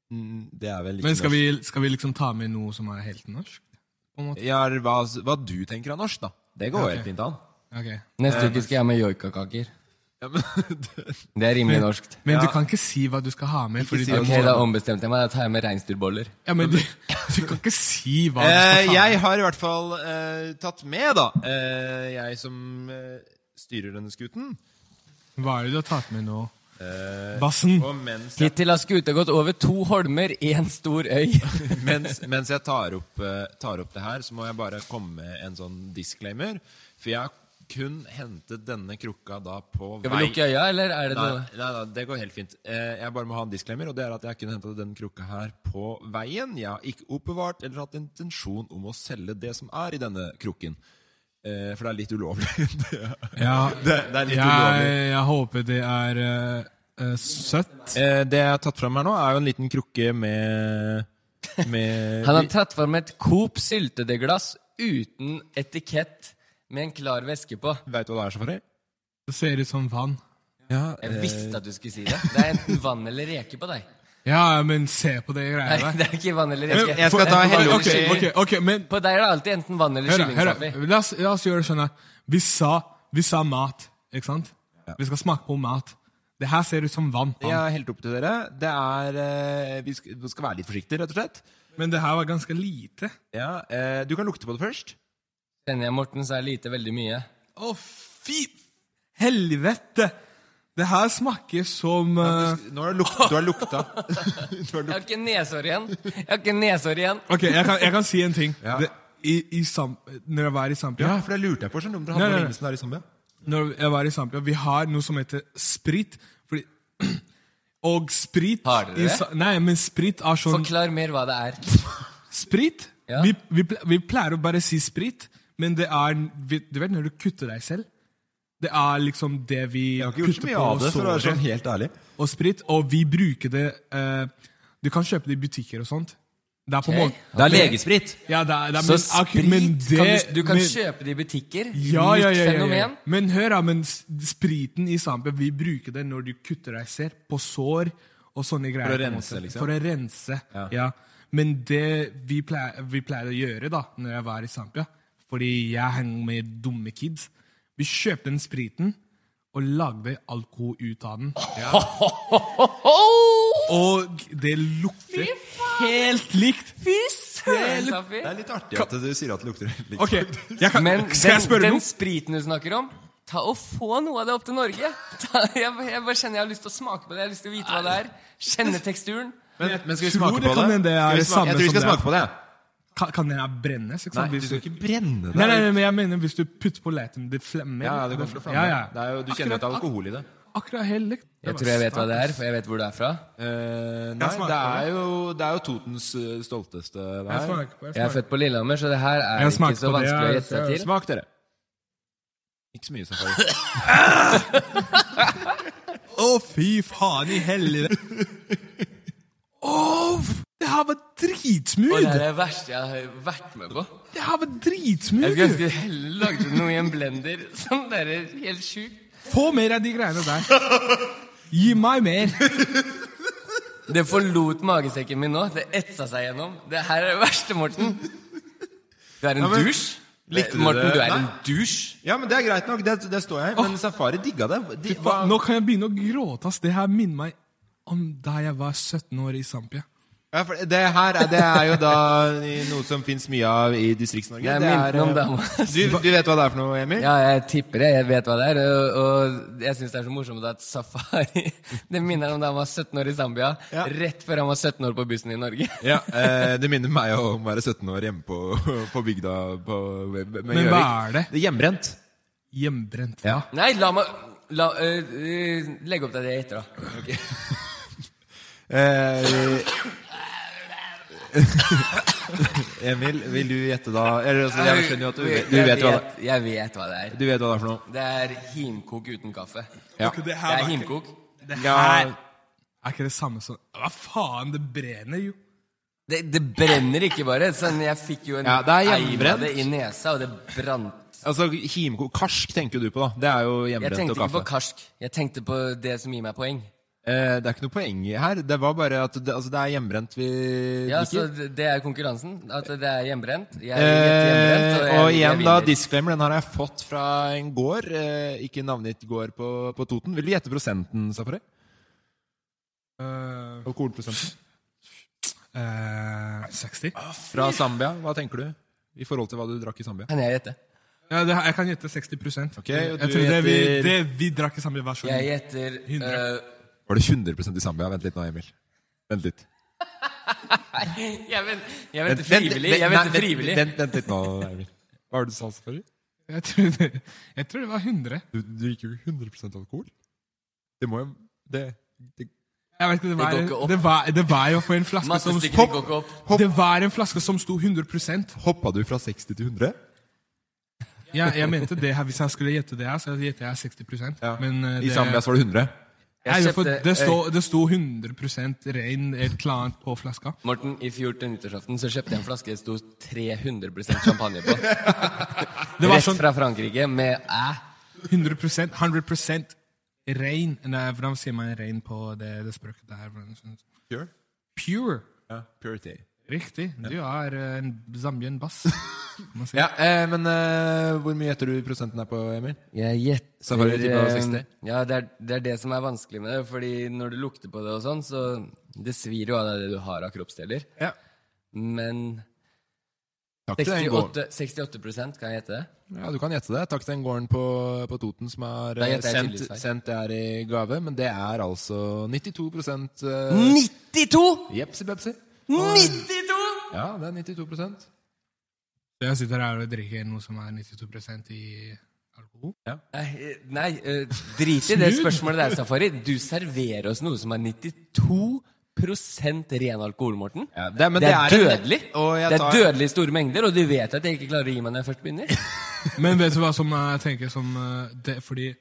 [SPEAKER 3] Mm, Det er vel ikke
[SPEAKER 5] Men skal vi, skal vi liksom ta med noe som er helt norsk? på en måte?
[SPEAKER 3] Ja, hva, hva du tenker er norsk, da. Det går
[SPEAKER 5] Ok.
[SPEAKER 3] helt fint an.
[SPEAKER 5] Ok.
[SPEAKER 4] Neste uke skal jeg ha med joikakaker.
[SPEAKER 3] Ja, men, det-
[SPEAKER 4] Det er rimelig
[SPEAKER 5] Men-
[SPEAKER 4] norskt.
[SPEAKER 5] Men du kan ikke si hva du skal ha med. Fordi du, sånn-
[SPEAKER 4] Ok, da ombestemte jeg meg. Da tar jeg med reinsdyrboller.
[SPEAKER 5] ja, men du, du kan ikke si hva du
[SPEAKER 3] Eh,
[SPEAKER 5] skal ta med.
[SPEAKER 3] jeg har i hvert fall eh, tatt med, da, eh, jeg som eh, styrer denne skuten.
[SPEAKER 5] Hva er det du har tatt med nå?
[SPEAKER 3] Eh,
[SPEAKER 5] Bassen.
[SPEAKER 3] Og mens jeg,
[SPEAKER 4] Hittil har skuta gått over to holmer, én stor øy.
[SPEAKER 3] mens, mens jeg tar opp, eh, tar opp det her, så må jeg bare komme med en sånn disclaimer. For jeg har kun hentet denne krukka da på
[SPEAKER 4] Skal vi lukke øya, eller er det
[SPEAKER 3] nei,
[SPEAKER 4] noe
[SPEAKER 3] Nei, nei, det går helt fint. Eh, jeg bare må ha en disclaimer, og det er at jeg kunne henta den krukka her på veien. Jeg har ikke oppbevart eller hatt intensjon om å selge det som er i denne krukken. Eh, for det er litt ulovlig. det, er-
[SPEAKER 5] Ja,
[SPEAKER 3] det, det er litt
[SPEAKER 5] jeg,
[SPEAKER 3] ulovlig.
[SPEAKER 5] jeg håper det er eh, eh, søtt.
[SPEAKER 3] Eh, det jeg har tatt fram her nå, er jo en liten krukke med med
[SPEAKER 4] Han har tatt fram et Coop syltedeglass uten etikett med en klar væske på.
[SPEAKER 3] Veit du hva det er, Safari?
[SPEAKER 5] Det ser ut som vann.
[SPEAKER 3] Ja, eh,
[SPEAKER 4] Jeg visste at du skulle si det. Det er enten vann eller reke på deg.
[SPEAKER 5] Ja, men se på det greia
[SPEAKER 4] Nei,
[SPEAKER 5] der.
[SPEAKER 4] det er ikke vann eller reke.
[SPEAKER 3] Jeg skal ta
[SPEAKER 4] Enten vann
[SPEAKER 3] helle
[SPEAKER 4] eller
[SPEAKER 3] over
[SPEAKER 5] Ok,
[SPEAKER 4] kylling.
[SPEAKER 5] ok, ok, men
[SPEAKER 4] På deg er det alltid enten vann eller
[SPEAKER 5] hør,
[SPEAKER 4] kylling.
[SPEAKER 5] hør,
[SPEAKER 4] Safi.
[SPEAKER 5] la, oss, la oss gjøre det sånn her. Vi sa, vi sa mat, ikke sant? Vi skal smake på mat. Det her ser ut som vann.
[SPEAKER 3] Jeg har helt opp til dere. Det er eh, Vi skal, vi skal være litt forsiktige, rett og slett.
[SPEAKER 5] Men det her var ganske lite.
[SPEAKER 3] Ja, eh, du kan lukte på det først.
[SPEAKER 4] Kjenner jeg Morten, så er lite veldig mye.
[SPEAKER 5] Å, fy helvete! Det her smaker som eh,
[SPEAKER 3] Nå har du, luk, du har lukta. du har
[SPEAKER 4] Jeg
[SPEAKER 3] lukta.
[SPEAKER 4] har ikke nesår igjen. Jeg har ikke nesår igjen.
[SPEAKER 5] Ok, jeg kan, jeg kan si en ting. Det, i, i Sam- når jeg var i Zambia
[SPEAKER 3] Ja, for det lurte jeg på. Skjønner du om dere
[SPEAKER 5] Nei, nei,
[SPEAKER 3] hadde
[SPEAKER 5] nei.
[SPEAKER 3] noen lignelser der i Zambia?
[SPEAKER 5] Når jeg var i Zambia Vi har noe som heter sprit. Fordi, og sprit
[SPEAKER 4] Har dere
[SPEAKER 5] i
[SPEAKER 4] det?
[SPEAKER 5] Sa- Nei, men sprit er sånn
[SPEAKER 4] Forklar mer hva det er.
[SPEAKER 5] Sprit?
[SPEAKER 4] Ja.
[SPEAKER 5] Vi, vi, ple- vi pleier å bare si sprit, men det er vi- Du vet når du kutter deg selv? Det er liksom det vi
[SPEAKER 3] Jeg har ikke gjort så
[SPEAKER 5] kutter
[SPEAKER 3] mye
[SPEAKER 5] på
[SPEAKER 3] av det, for å være
[SPEAKER 5] såret
[SPEAKER 3] sånn helt ærlig.
[SPEAKER 5] og sprit, og vi bruker det eh, Du kan kjøpe det i butikker og sånt. Det er på måte-
[SPEAKER 3] Det er legesprit.
[SPEAKER 5] Ja, det er, det er,
[SPEAKER 4] Så
[SPEAKER 5] men, ak-
[SPEAKER 4] sprit
[SPEAKER 5] men det,
[SPEAKER 4] kan du, du kan
[SPEAKER 5] men,
[SPEAKER 4] kjøpe det i butikker.
[SPEAKER 5] ja, ja, ja,
[SPEAKER 4] Nytt
[SPEAKER 5] ja, ja.
[SPEAKER 4] fenomen.
[SPEAKER 5] Men hør, da. Men s- spriten i Zambia, vi bruker det når du kutter deg selv, på sår og sånne greier.
[SPEAKER 3] å
[SPEAKER 5] på en
[SPEAKER 3] rense,
[SPEAKER 5] måte.
[SPEAKER 3] liksom.
[SPEAKER 5] For å rense,
[SPEAKER 3] Ja.
[SPEAKER 5] ja. Men det vi pleier, vi pleier å gjøre da, når jeg var i Zambia, fordi jeg hang med dumme kids Vi kjøpte den spriten og lagde alkohol ut av den. Og det lukter helt likt!
[SPEAKER 4] Fy søren, Safi.
[SPEAKER 3] Det er litt artig at du sier at det lukter litt
[SPEAKER 5] Ok, jeg kan,
[SPEAKER 4] Men
[SPEAKER 5] Skal jeg
[SPEAKER 4] den,
[SPEAKER 5] spørre
[SPEAKER 4] den
[SPEAKER 5] noe?
[SPEAKER 4] spriten du snakker om Ta og Få noe av det opp til Norge. Ta, jeg, jeg bare kjenner jeg har lyst til å smake på det. Jeg har lyst til å vite hva det er. Kjenne teksturen.
[SPEAKER 3] Men, men skal vi
[SPEAKER 5] tror
[SPEAKER 3] smake
[SPEAKER 5] det
[SPEAKER 3] på
[SPEAKER 5] kan
[SPEAKER 3] det?
[SPEAKER 5] hende det er
[SPEAKER 3] Skal vi
[SPEAKER 5] det
[SPEAKER 3] smake-
[SPEAKER 5] samme
[SPEAKER 3] jeg tror vi
[SPEAKER 5] som
[SPEAKER 3] skal
[SPEAKER 5] det er.
[SPEAKER 3] smake på det.
[SPEAKER 5] Kan, kan den her brennes? Ikke
[SPEAKER 3] Nei,
[SPEAKER 5] sant?
[SPEAKER 3] du skal ikke brenne
[SPEAKER 5] Nei,
[SPEAKER 3] deg.
[SPEAKER 5] nei, nei, men jeg mener hvis du putter på leten, det flemmer.
[SPEAKER 3] Ja, ja, det kommer til å flamme.
[SPEAKER 5] Ja, ja.
[SPEAKER 3] Det er jo, du kjenner at det er alkohol i det.
[SPEAKER 5] akkurat helt likt.
[SPEAKER 4] Jeg tror jeg vet hva det er, for jeg vet hvor det er fra.
[SPEAKER 3] Eh, nei, det er, jo, det er jo Totens eh, stolteste det
[SPEAKER 4] Jeg
[SPEAKER 3] her.
[SPEAKER 4] smaker på, jeg Jeg er smaker. født på Lillehammer, så det her er
[SPEAKER 3] Jeg
[SPEAKER 4] ikke
[SPEAKER 3] smaker på
[SPEAKER 4] så
[SPEAKER 3] det,
[SPEAKER 4] vanskelig å
[SPEAKER 3] jeg-
[SPEAKER 4] gjette seg til.
[SPEAKER 3] Smak, dere. Ikke så mye som
[SPEAKER 5] Å, fy faen i helvete! Å, f- det her var
[SPEAKER 4] Og
[SPEAKER 5] dritsmooth!
[SPEAKER 4] det er det verste jeg har vært med på.
[SPEAKER 5] Det her var dritsmooth!
[SPEAKER 4] Jeg skulle ønske jeg heller lagde noe i en blender. Sånn der, helt sjukt.
[SPEAKER 5] Få mer av de greiene der. Gi meg mer.
[SPEAKER 4] Det forlot magesekken min nå. Det etsa seg gjennom. Det her er det verste, Morten. Du er en
[SPEAKER 3] Ja, men-
[SPEAKER 4] dusj.
[SPEAKER 3] Likte du
[SPEAKER 4] Morten,
[SPEAKER 3] det?
[SPEAKER 4] du er en
[SPEAKER 3] Nei.
[SPEAKER 4] dusj.
[SPEAKER 3] Ja, men det er greit nok. Det, det står jeg i. Men Safari digga det. De,
[SPEAKER 5] Fy faen, Nå kan jeg begynne å gråte. ass. Det her minner meg om da jeg var 17 år i Zampia.
[SPEAKER 3] ja, for det her er, det er jo da noe som fins mye av i Distrikts-Norge.
[SPEAKER 4] Jeg
[SPEAKER 3] Det
[SPEAKER 4] minte
[SPEAKER 3] er,
[SPEAKER 4] om
[SPEAKER 3] eh,
[SPEAKER 4] dama.
[SPEAKER 3] Du, du vet hva det er for noe, Emil?
[SPEAKER 4] Ja, jeg tipper det. Jeg vet hva det er. Og, og jeg syns det er så morsomt at Safari Det minner om da han var 17 år i Zambia. Rett før han var 17 år på bussen i Norge.
[SPEAKER 3] Ja, eh, Det minner meg om å være 17 år hjemme på, på bygda på, med
[SPEAKER 5] Men hva
[SPEAKER 3] Gjøvik.
[SPEAKER 5] er det?
[SPEAKER 3] Det er hjemmebrent.
[SPEAKER 5] Hjemmebrent.
[SPEAKER 3] Ja.
[SPEAKER 4] Nei, la meg la, øh, øh, Legg opp til det jeg gjetter, da.
[SPEAKER 3] Eh, Emil, vil du gjette da Eller, altså, Jeg skjønner jo at du, vet- du
[SPEAKER 4] Jeg
[SPEAKER 3] vet hva det
[SPEAKER 4] vet- Jeg vet hva det er.
[SPEAKER 3] Du vet hva det er for noe.
[SPEAKER 4] Det er himkok uten kaffe.
[SPEAKER 3] Ja.
[SPEAKER 5] Ok, det
[SPEAKER 4] Det
[SPEAKER 5] her
[SPEAKER 4] er
[SPEAKER 5] var ikke-
[SPEAKER 4] himkok.
[SPEAKER 5] Det her er ikke det samme som Hva faen, det brenner jo.
[SPEAKER 4] Det, det brenner ikke bare. Sånn, jeg fikk jo en
[SPEAKER 3] Ja, det er
[SPEAKER 4] eim
[SPEAKER 3] hjemmebrent.
[SPEAKER 4] av det i nesa, og det brant.
[SPEAKER 3] Altså, himko, Karsk tenker jo du på, da. Det er jo
[SPEAKER 4] Jeg
[SPEAKER 3] hjemmebrent
[SPEAKER 4] tenkte
[SPEAKER 3] og
[SPEAKER 4] ikke
[SPEAKER 3] kaffe.
[SPEAKER 4] på karsk. Jeg tenkte på det som gir meg poeng.
[SPEAKER 3] Eh, det er ikke noe poeng i her. Det var bare at det, altså, det er hjemmebrent vi
[SPEAKER 4] Ja, så
[SPEAKER 3] liker.
[SPEAKER 4] det det er konkurransen. At det er hjemmebrent. Jeg gjetter
[SPEAKER 3] Eh,
[SPEAKER 4] hjemmebrent,
[SPEAKER 3] og
[SPEAKER 4] jeg- jeg
[SPEAKER 3] igjen, da,
[SPEAKER 4] vinner.
[SPEAKER 3] disclaimer. Den her har jeg fått fra en gård. Eh, ikke navngitt gård på, på Toten. Vil du gjette prosenten, Safari? Alkoholprosenten?
[SPEAKER 5] Eh, 60.
[SPEAKER 3] Ah, Fra Zambia? Hva tenker du? I forhold til hva du drakk i Zambia?
[SPEAKER 4] Kan jeg gjette?
[SPEAKER 5] Ja, det, her- jeg kan gjette 60
[SPEAKER 3] Ok, og
[SPEAKER 5] Jeg
[SPEAKER 3] du
[SPEAKER 5] tror det vi,
[SPEAKER 3] gjetter-
[SPEAKER 5] det vi drakk i samme versjon.
[SPEAKER 4] Jeg gjetter øh,
[SPEAKER 3] Var det 100 i Zambia? Vent litt nå, Emil. Vent litt.
[SPEAKER 4] Nei, jeg vent- jeg venter
[SPEAKER 3] Vent- vent-
[SPEAKER 4] frivillig.
[SPEAKER 3] vent-
[SPEAKER 4] Jeg
[SPEAKER 3] nei,
[SPEAKER 4] venter frivillig.
[SPEAKER 3] Vent, vent, vent litt nå, Emil. Hva var det du sa, Safari?
[SPEAKER 5] Jeg tror det, jeg tror det var 100.
[SPEAKER 3] Du, du drikker jo ikke 100 alkohol. Det må jo det, det.
[SPEAKER 5] Jeg vet ikke, det
[SPEAKER 3] Det
[SPEAKER 5] var,
[SPEAKER 3] går
[SPEAKER 5] det
[SPEAKER 3] ikke opp.
[SPEAKER 5] det var, det var jo for en flaske som
[SPEAKER 3] Mattestykker, det går ikke
[SPEAKER 4] opp.
[SPEAKER 5] Det var en flaske som sto 100
[SPEAKER 3] Hoppa du fra 60 til 100?
[SPEAKER 5] Ja, jeg mente det her, Hvis jeg skulle gjette det her, så gjetter jeg 60 Men eh,
[SPEAKER 3] I Zambia så var det 100.
[SPEAKER 5] Nei,
[SPEAKER 4] Jeg
[SPEAKER 5] for
[SPEAKER 4] kjøpte-
[SPEAKER 5] det, sto, det sto 100 rein et eller annet på flaska.
[SPEAKER 4] Morten, i fjor til nyttårsaften så kjøpte jeg en flaske det sto 300 champagne på.
[SPEAKER 5] Det var
[SPEAKER 4] Rett
[SPEAKER 5] sånn-
[SPEAKER 4] fra Frankrike med æ.
[SPEAKER 5] 100 100 rein. Nei, hvordan sier man rein på det, det språket der? Hvordan-
[SPEAKER 3] Pure?
[SPEAKER 5] Pure.
[SPEAKER 3] Ja, purity.
[SPEAKER 5] Riktig. Du er eh, en zambian bass. kan man si.
[SPEAKER 3] Ja, eh, men eh, hvor mye gjetter du prosenten er på, Emil?
[SPEAKER 4] Jeg gjetter
[SPEAKER 3] Safari tippa
[SPEAKER 4] eh,
[SPEAKER 3] 60.
[SPEAKER 4] Ja, det er, det er det som er vanskelig med det. Fordi når du lukter på det og sånn, så Det svir jo av det du har av kroppsdeler.
[SPEAKER 3] Ja.
[SPEAKER 4] Men
[SPEAKER 3] Takk til den gården.
[SPEAKER 4] 68, 68 kan jeg gjette det?
[SPEAKER 3] Ja, du kan gjette det. Takk til den gården på, på Toten som har
[SPEAKER 4] Da
[SPEAKER 3] eh,
[SPEAKER 4] gjetter jeg
[SPEAKER 3] sendt,
[SPEAKER 4] tydeligvis feil.
[SPEAKER 3] sendt det her i gave, men det er altså 92 eh,
[SPEAKER 4] 92!
[SPEAKER 3] Jepsi pepsi.
[SPEAKER 4] 92!
[SPEAKER 3] Ja, det er 92
[SPEAKER 5] Så jeg sitter her og drikker noe som er 92 i alkohol.
[SPEAKER 4] Nei, eh, Nei, eh, drit i det
[SPEAKER 5] Snudd.
[SPEAKER 4] spørsmålet der, Safari. Du serverer oss noe som er 92 ren alkohol, Morten.
[SPEAKER 3] det- men
[SPEAKER 4] det, er
[SPEAKER 3] det er en-
[SPEAKER 4] dødelig.
[SPEAKER 3] og jeg
[SPEAKER 4] Det
[SPEAKER 3] tar-
[SPEAKER 4] er dødelig i store mengder, og du vet at jeg ikke klarer å gi meg når jeg først begynner.
[SPEAKER 5] Men vet du hva som jeg tenker som eh, det, Fordi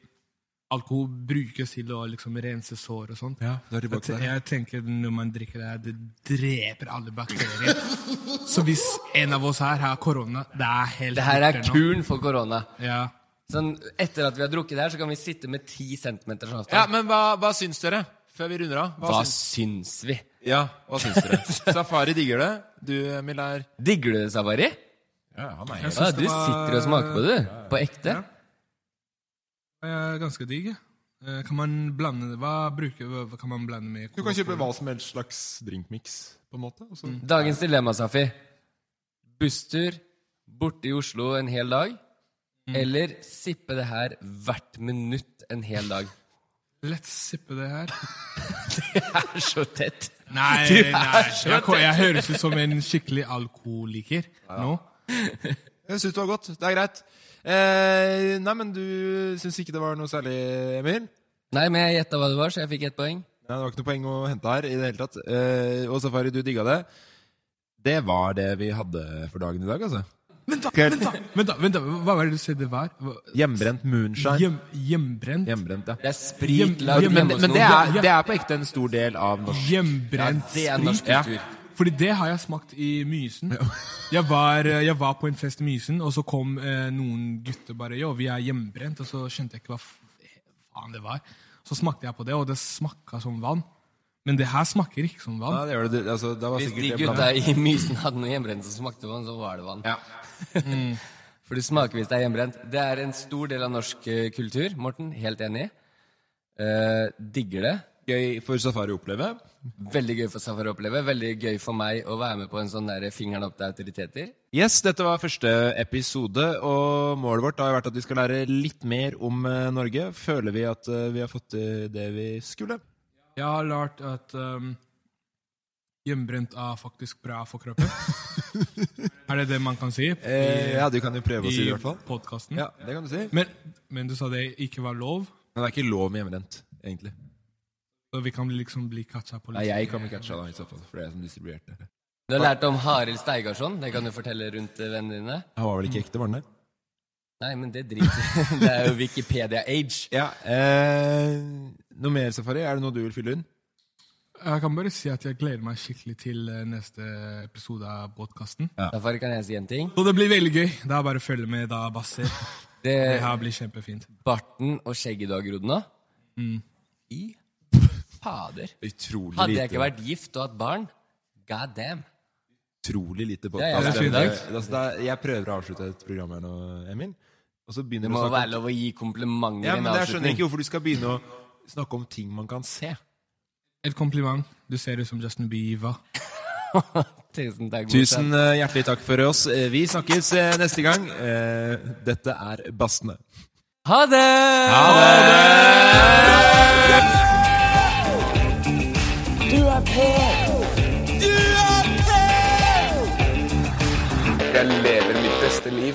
[SPEAKER 5] alkohol brukes til å liksom rense sår og sånt.
[SPEAKER 3] Ja, det er tilbake
[SPEAKER 5] jeg, te-
[SPEAKER 3] der.
[SPEAKER 5] jeg tenker når man drikker det her, det dreper alle bakterier. Så hvis en av oss her har korona, det er helt
[SPEAKER 4] Det her er
[SPEAKER 5] borte nå.
[SPEAKER 4] kuren for korona.
[SPEAKER 5] Ja.
[SPEAKER 4] Sånn, etter at vi har drukket det her, så kan vi sitte med 10 cm avstand.
[SPEAKER 3] Ja, men hva, hva syns dere? Før vi runder av.
[SPEAKER 4] Hva syns vi?
[SPEAKER 3] Ja, hva syns dere? Safari digger det. Du, Emil, er
[SPEAKER 4] Digger du det, Safari?
[SPEAKER 3] Ja, han er
[SPEAKER 5] Jeg
[SPEAKER 4] Ja,
[SPEAKER 5] syns
[SPEAKER 4] du
[SPEAKER 5] det var-
[SPEAKER 4] sitter og smaker på det, du. På ekte.
[SPEAKER 5] Eh, Ganske digg. ja. Eh, Kan man blande det? Hva bruker hva kan man blande med?
[SPEAKER 3] Du kan kjøpe hva som helst slags drinkmix, på en måte. og så-
[SPEAKER 4] Dagens dilemma, Safi. Busstur borte i Oslo en hel dag, eller sippe det her hvert minutt en hel dag.
[SPEAKER 5] Let's sippe det her.
[SPEAKER 4] Det er så tett.
[SPEAKER 5] Nei,
[SPEAKER 4] Du er
[SPEAKER 5] nei.
[SPEAKER 4] så
[SPEAKER 5] Jeg, ko- jeg
[SPEAKER 4] tett.
[SPEAKER 5] høres ut som en skikkelig alkoholiker nå.
[SPEAKER 3] Jeg syns det var godt. Det er greit. Eh, nei, men du syns ikke det var noe særlig, Emil?
[SPEAKER 4] Nei, men jeg gjetta hva det var, så jeg fikk ett poeng.
[SPEAKER 3] Nei, det var ikke noe poeng å hente her i det hele tatt. Eh, og Safari, du digga det. Det var det vi hadde for dagen i dag, altså.
[SPEAKER 5] Vent, da! Vent, da! vent da, vent da, Hva var det du sa det var? Hva-
[SPEAKER 3] Hjemmebrent moonshine.
[SPEAKER 5] Hjem, hjembrent?
[SPEAKER 3] Hjemmebrent, ja.
[SPEAKER 4] Det er
[SPEAKER 5] Hjem-
[SPEAKER 4] sprit lagd
[SPEAKER 5] hjem-
[SPEAKER 3] Men,
[SPEAKER 4] hjemme hos
[SPEAKER 3] men det, er,
[SPEAKER 4] noen.
[SPEAKER 3] det er på ekte en stor del av norsk
[SPEAKER 5] Hjemmebrent
[SPEAKER 4] Ja, det er norsk
[SPEAKER 5] sprit.
[SPEAKER 4] kultur.
[SPEAKER 5] Ja. Fordi det har jeg smakt i Mysen. Jeg var, eh, jeg var på en fest i Mysen, og så kom eh, noen gutter bare Jo, vi er hjemmebrent. Og så skjønte jeg ikke hva f- faen det var. Så smakte jeg på det, og det smakka som vann. Men det her smaker ikke som
[SPEAKER 3] Ja,
[SPEAKER 5] vann.
[SPEAKER 3] det gjør det. Altså, det var
[SPEAKER 4] Hvis
[SPEAKER 3] sikkert
[SPEAKER 4] de
[SPEAKER 3] det
[SPEAKER 4] gutta
[SPEAKER 3] blandet.
[SPEAKER 4] i Mysen hadde noe hjemmebrent som smakte vann, så var det vann. For det smaker hvis det er hjemmebrent. Det er en stor del av norsk eh, kultur, Morten. Helt enig. Eh, digger det.
[SPEAKER 3] Gøy for Safari å oppleve.
[SPEAKER 4] Veldig gøy for Safari å oppleve. Veldig gøy for meg å være med på en sånn der fingeren opp til autoriteter.
[SPEAKER 3] Yes, dette var første episode, og målet vårt har jo vært at vi skal lære litt mer om eh, Norge. Føler vi at eh, vi har fått til det vi skulle?
[SPEAKER 5] Jeg har lært at um, hjemmebrent er faktisk bra for kroppen. er det det man kan si?
[SPEAKER 3] Eh, ja, du kan jo prøve å si det i hvert fall.
[SPEAKER 5] podkasten.
[SPEAKER 3] Ja, det kan du si.
[SPEAKER 5] Men, men du sa det ikke var lov,
[SPEAKER 3] Men det er ikke lov med hjemmerent, egentlig.
[SPEAKER 5] så vi kan liksom bli catcha på litt.
[SPEAKER 3] Nei, jeg kan ikke catcha da, i så fall, for det er sånn jeg som distribuerte det.
[SPEAKER 4] Du har lært om Harild Steigarsson. Det kan du fortelle rundt eh, vennene dine.
[SPEAKER 3] Han var vel ikke ekte, var han det?
[SPEAKER 4] Nei, men det driter Det er jo Wikipedia-age.
[SPEAKER 3] Ja, eh, noe mer, Safari? Er det noe du vil fylle inn?
[SPEAKER 5] Jeg kan bare si at jeg gleder meg skikkelig til eh, neste episode av podkasten.
[SPEAKER 4] Derfor kan jeg si en ting.
[SPEAKER 5] Så det blir veldig gøy. Det er bare å følge med, da, Basser.
[SPEAKER 4] Det
[SPEAKER 5] Det her blir kjempefint.
[SPEAKER 4] Barten og skjegget du har grodd nå I fader.
[SPEAKER 3] Utrolig
[SPEAKER 4] Hadde jeg
[SPEAKER 3] lite-
[SPEAKER 4] ikke vært gift og hatt barn, god damn.
[SPEAKER 3] utrolig lite på
[SPEAKER 4] Ja, ja, det er
[SPEAKER 3] Altså,
[SPEAKER 4] fint,
[SPEAKER 3] det-
[SPEAKER 4] takk.
[SPEAKER 3] altså, det er- Jeg prøver å avslutte et program her nå, Emil. Og så begynner
[SPEAKER 4] Det
[SPEAKER 3] du
[SPEAKER 4] må
[SPEAKER 3] å snakke
[SPEAKER 4] være
[SPEAKER 3] om-
[SPEAKER 4] lov å gi komplimenter
[SPEAKER 3] ja, men Jeg
[SPEAKER 4] i en
[SPEAKER 3] skjønner
[SPEAKER 4] avslutning.
[SPEAKER 3] ikke hvorfor du skal begynne å snakke om ting man kan se.
[SPEAKER 5] Et kompliment. Du ser ut som Justin Bieber.
[SPEAKER 4] Tusen takk.
[SPEAKER 3] Tusen eh, hjertelig takk for oss. Eh, Vi snakkes eh, neste gang. Eh, Dette er Bastene.
[SPEAKER 4] Ha det!
[SPEAKER 1] Du er på! Du er på!
[SPEAKER 2] Jeg lever mitt beste liv.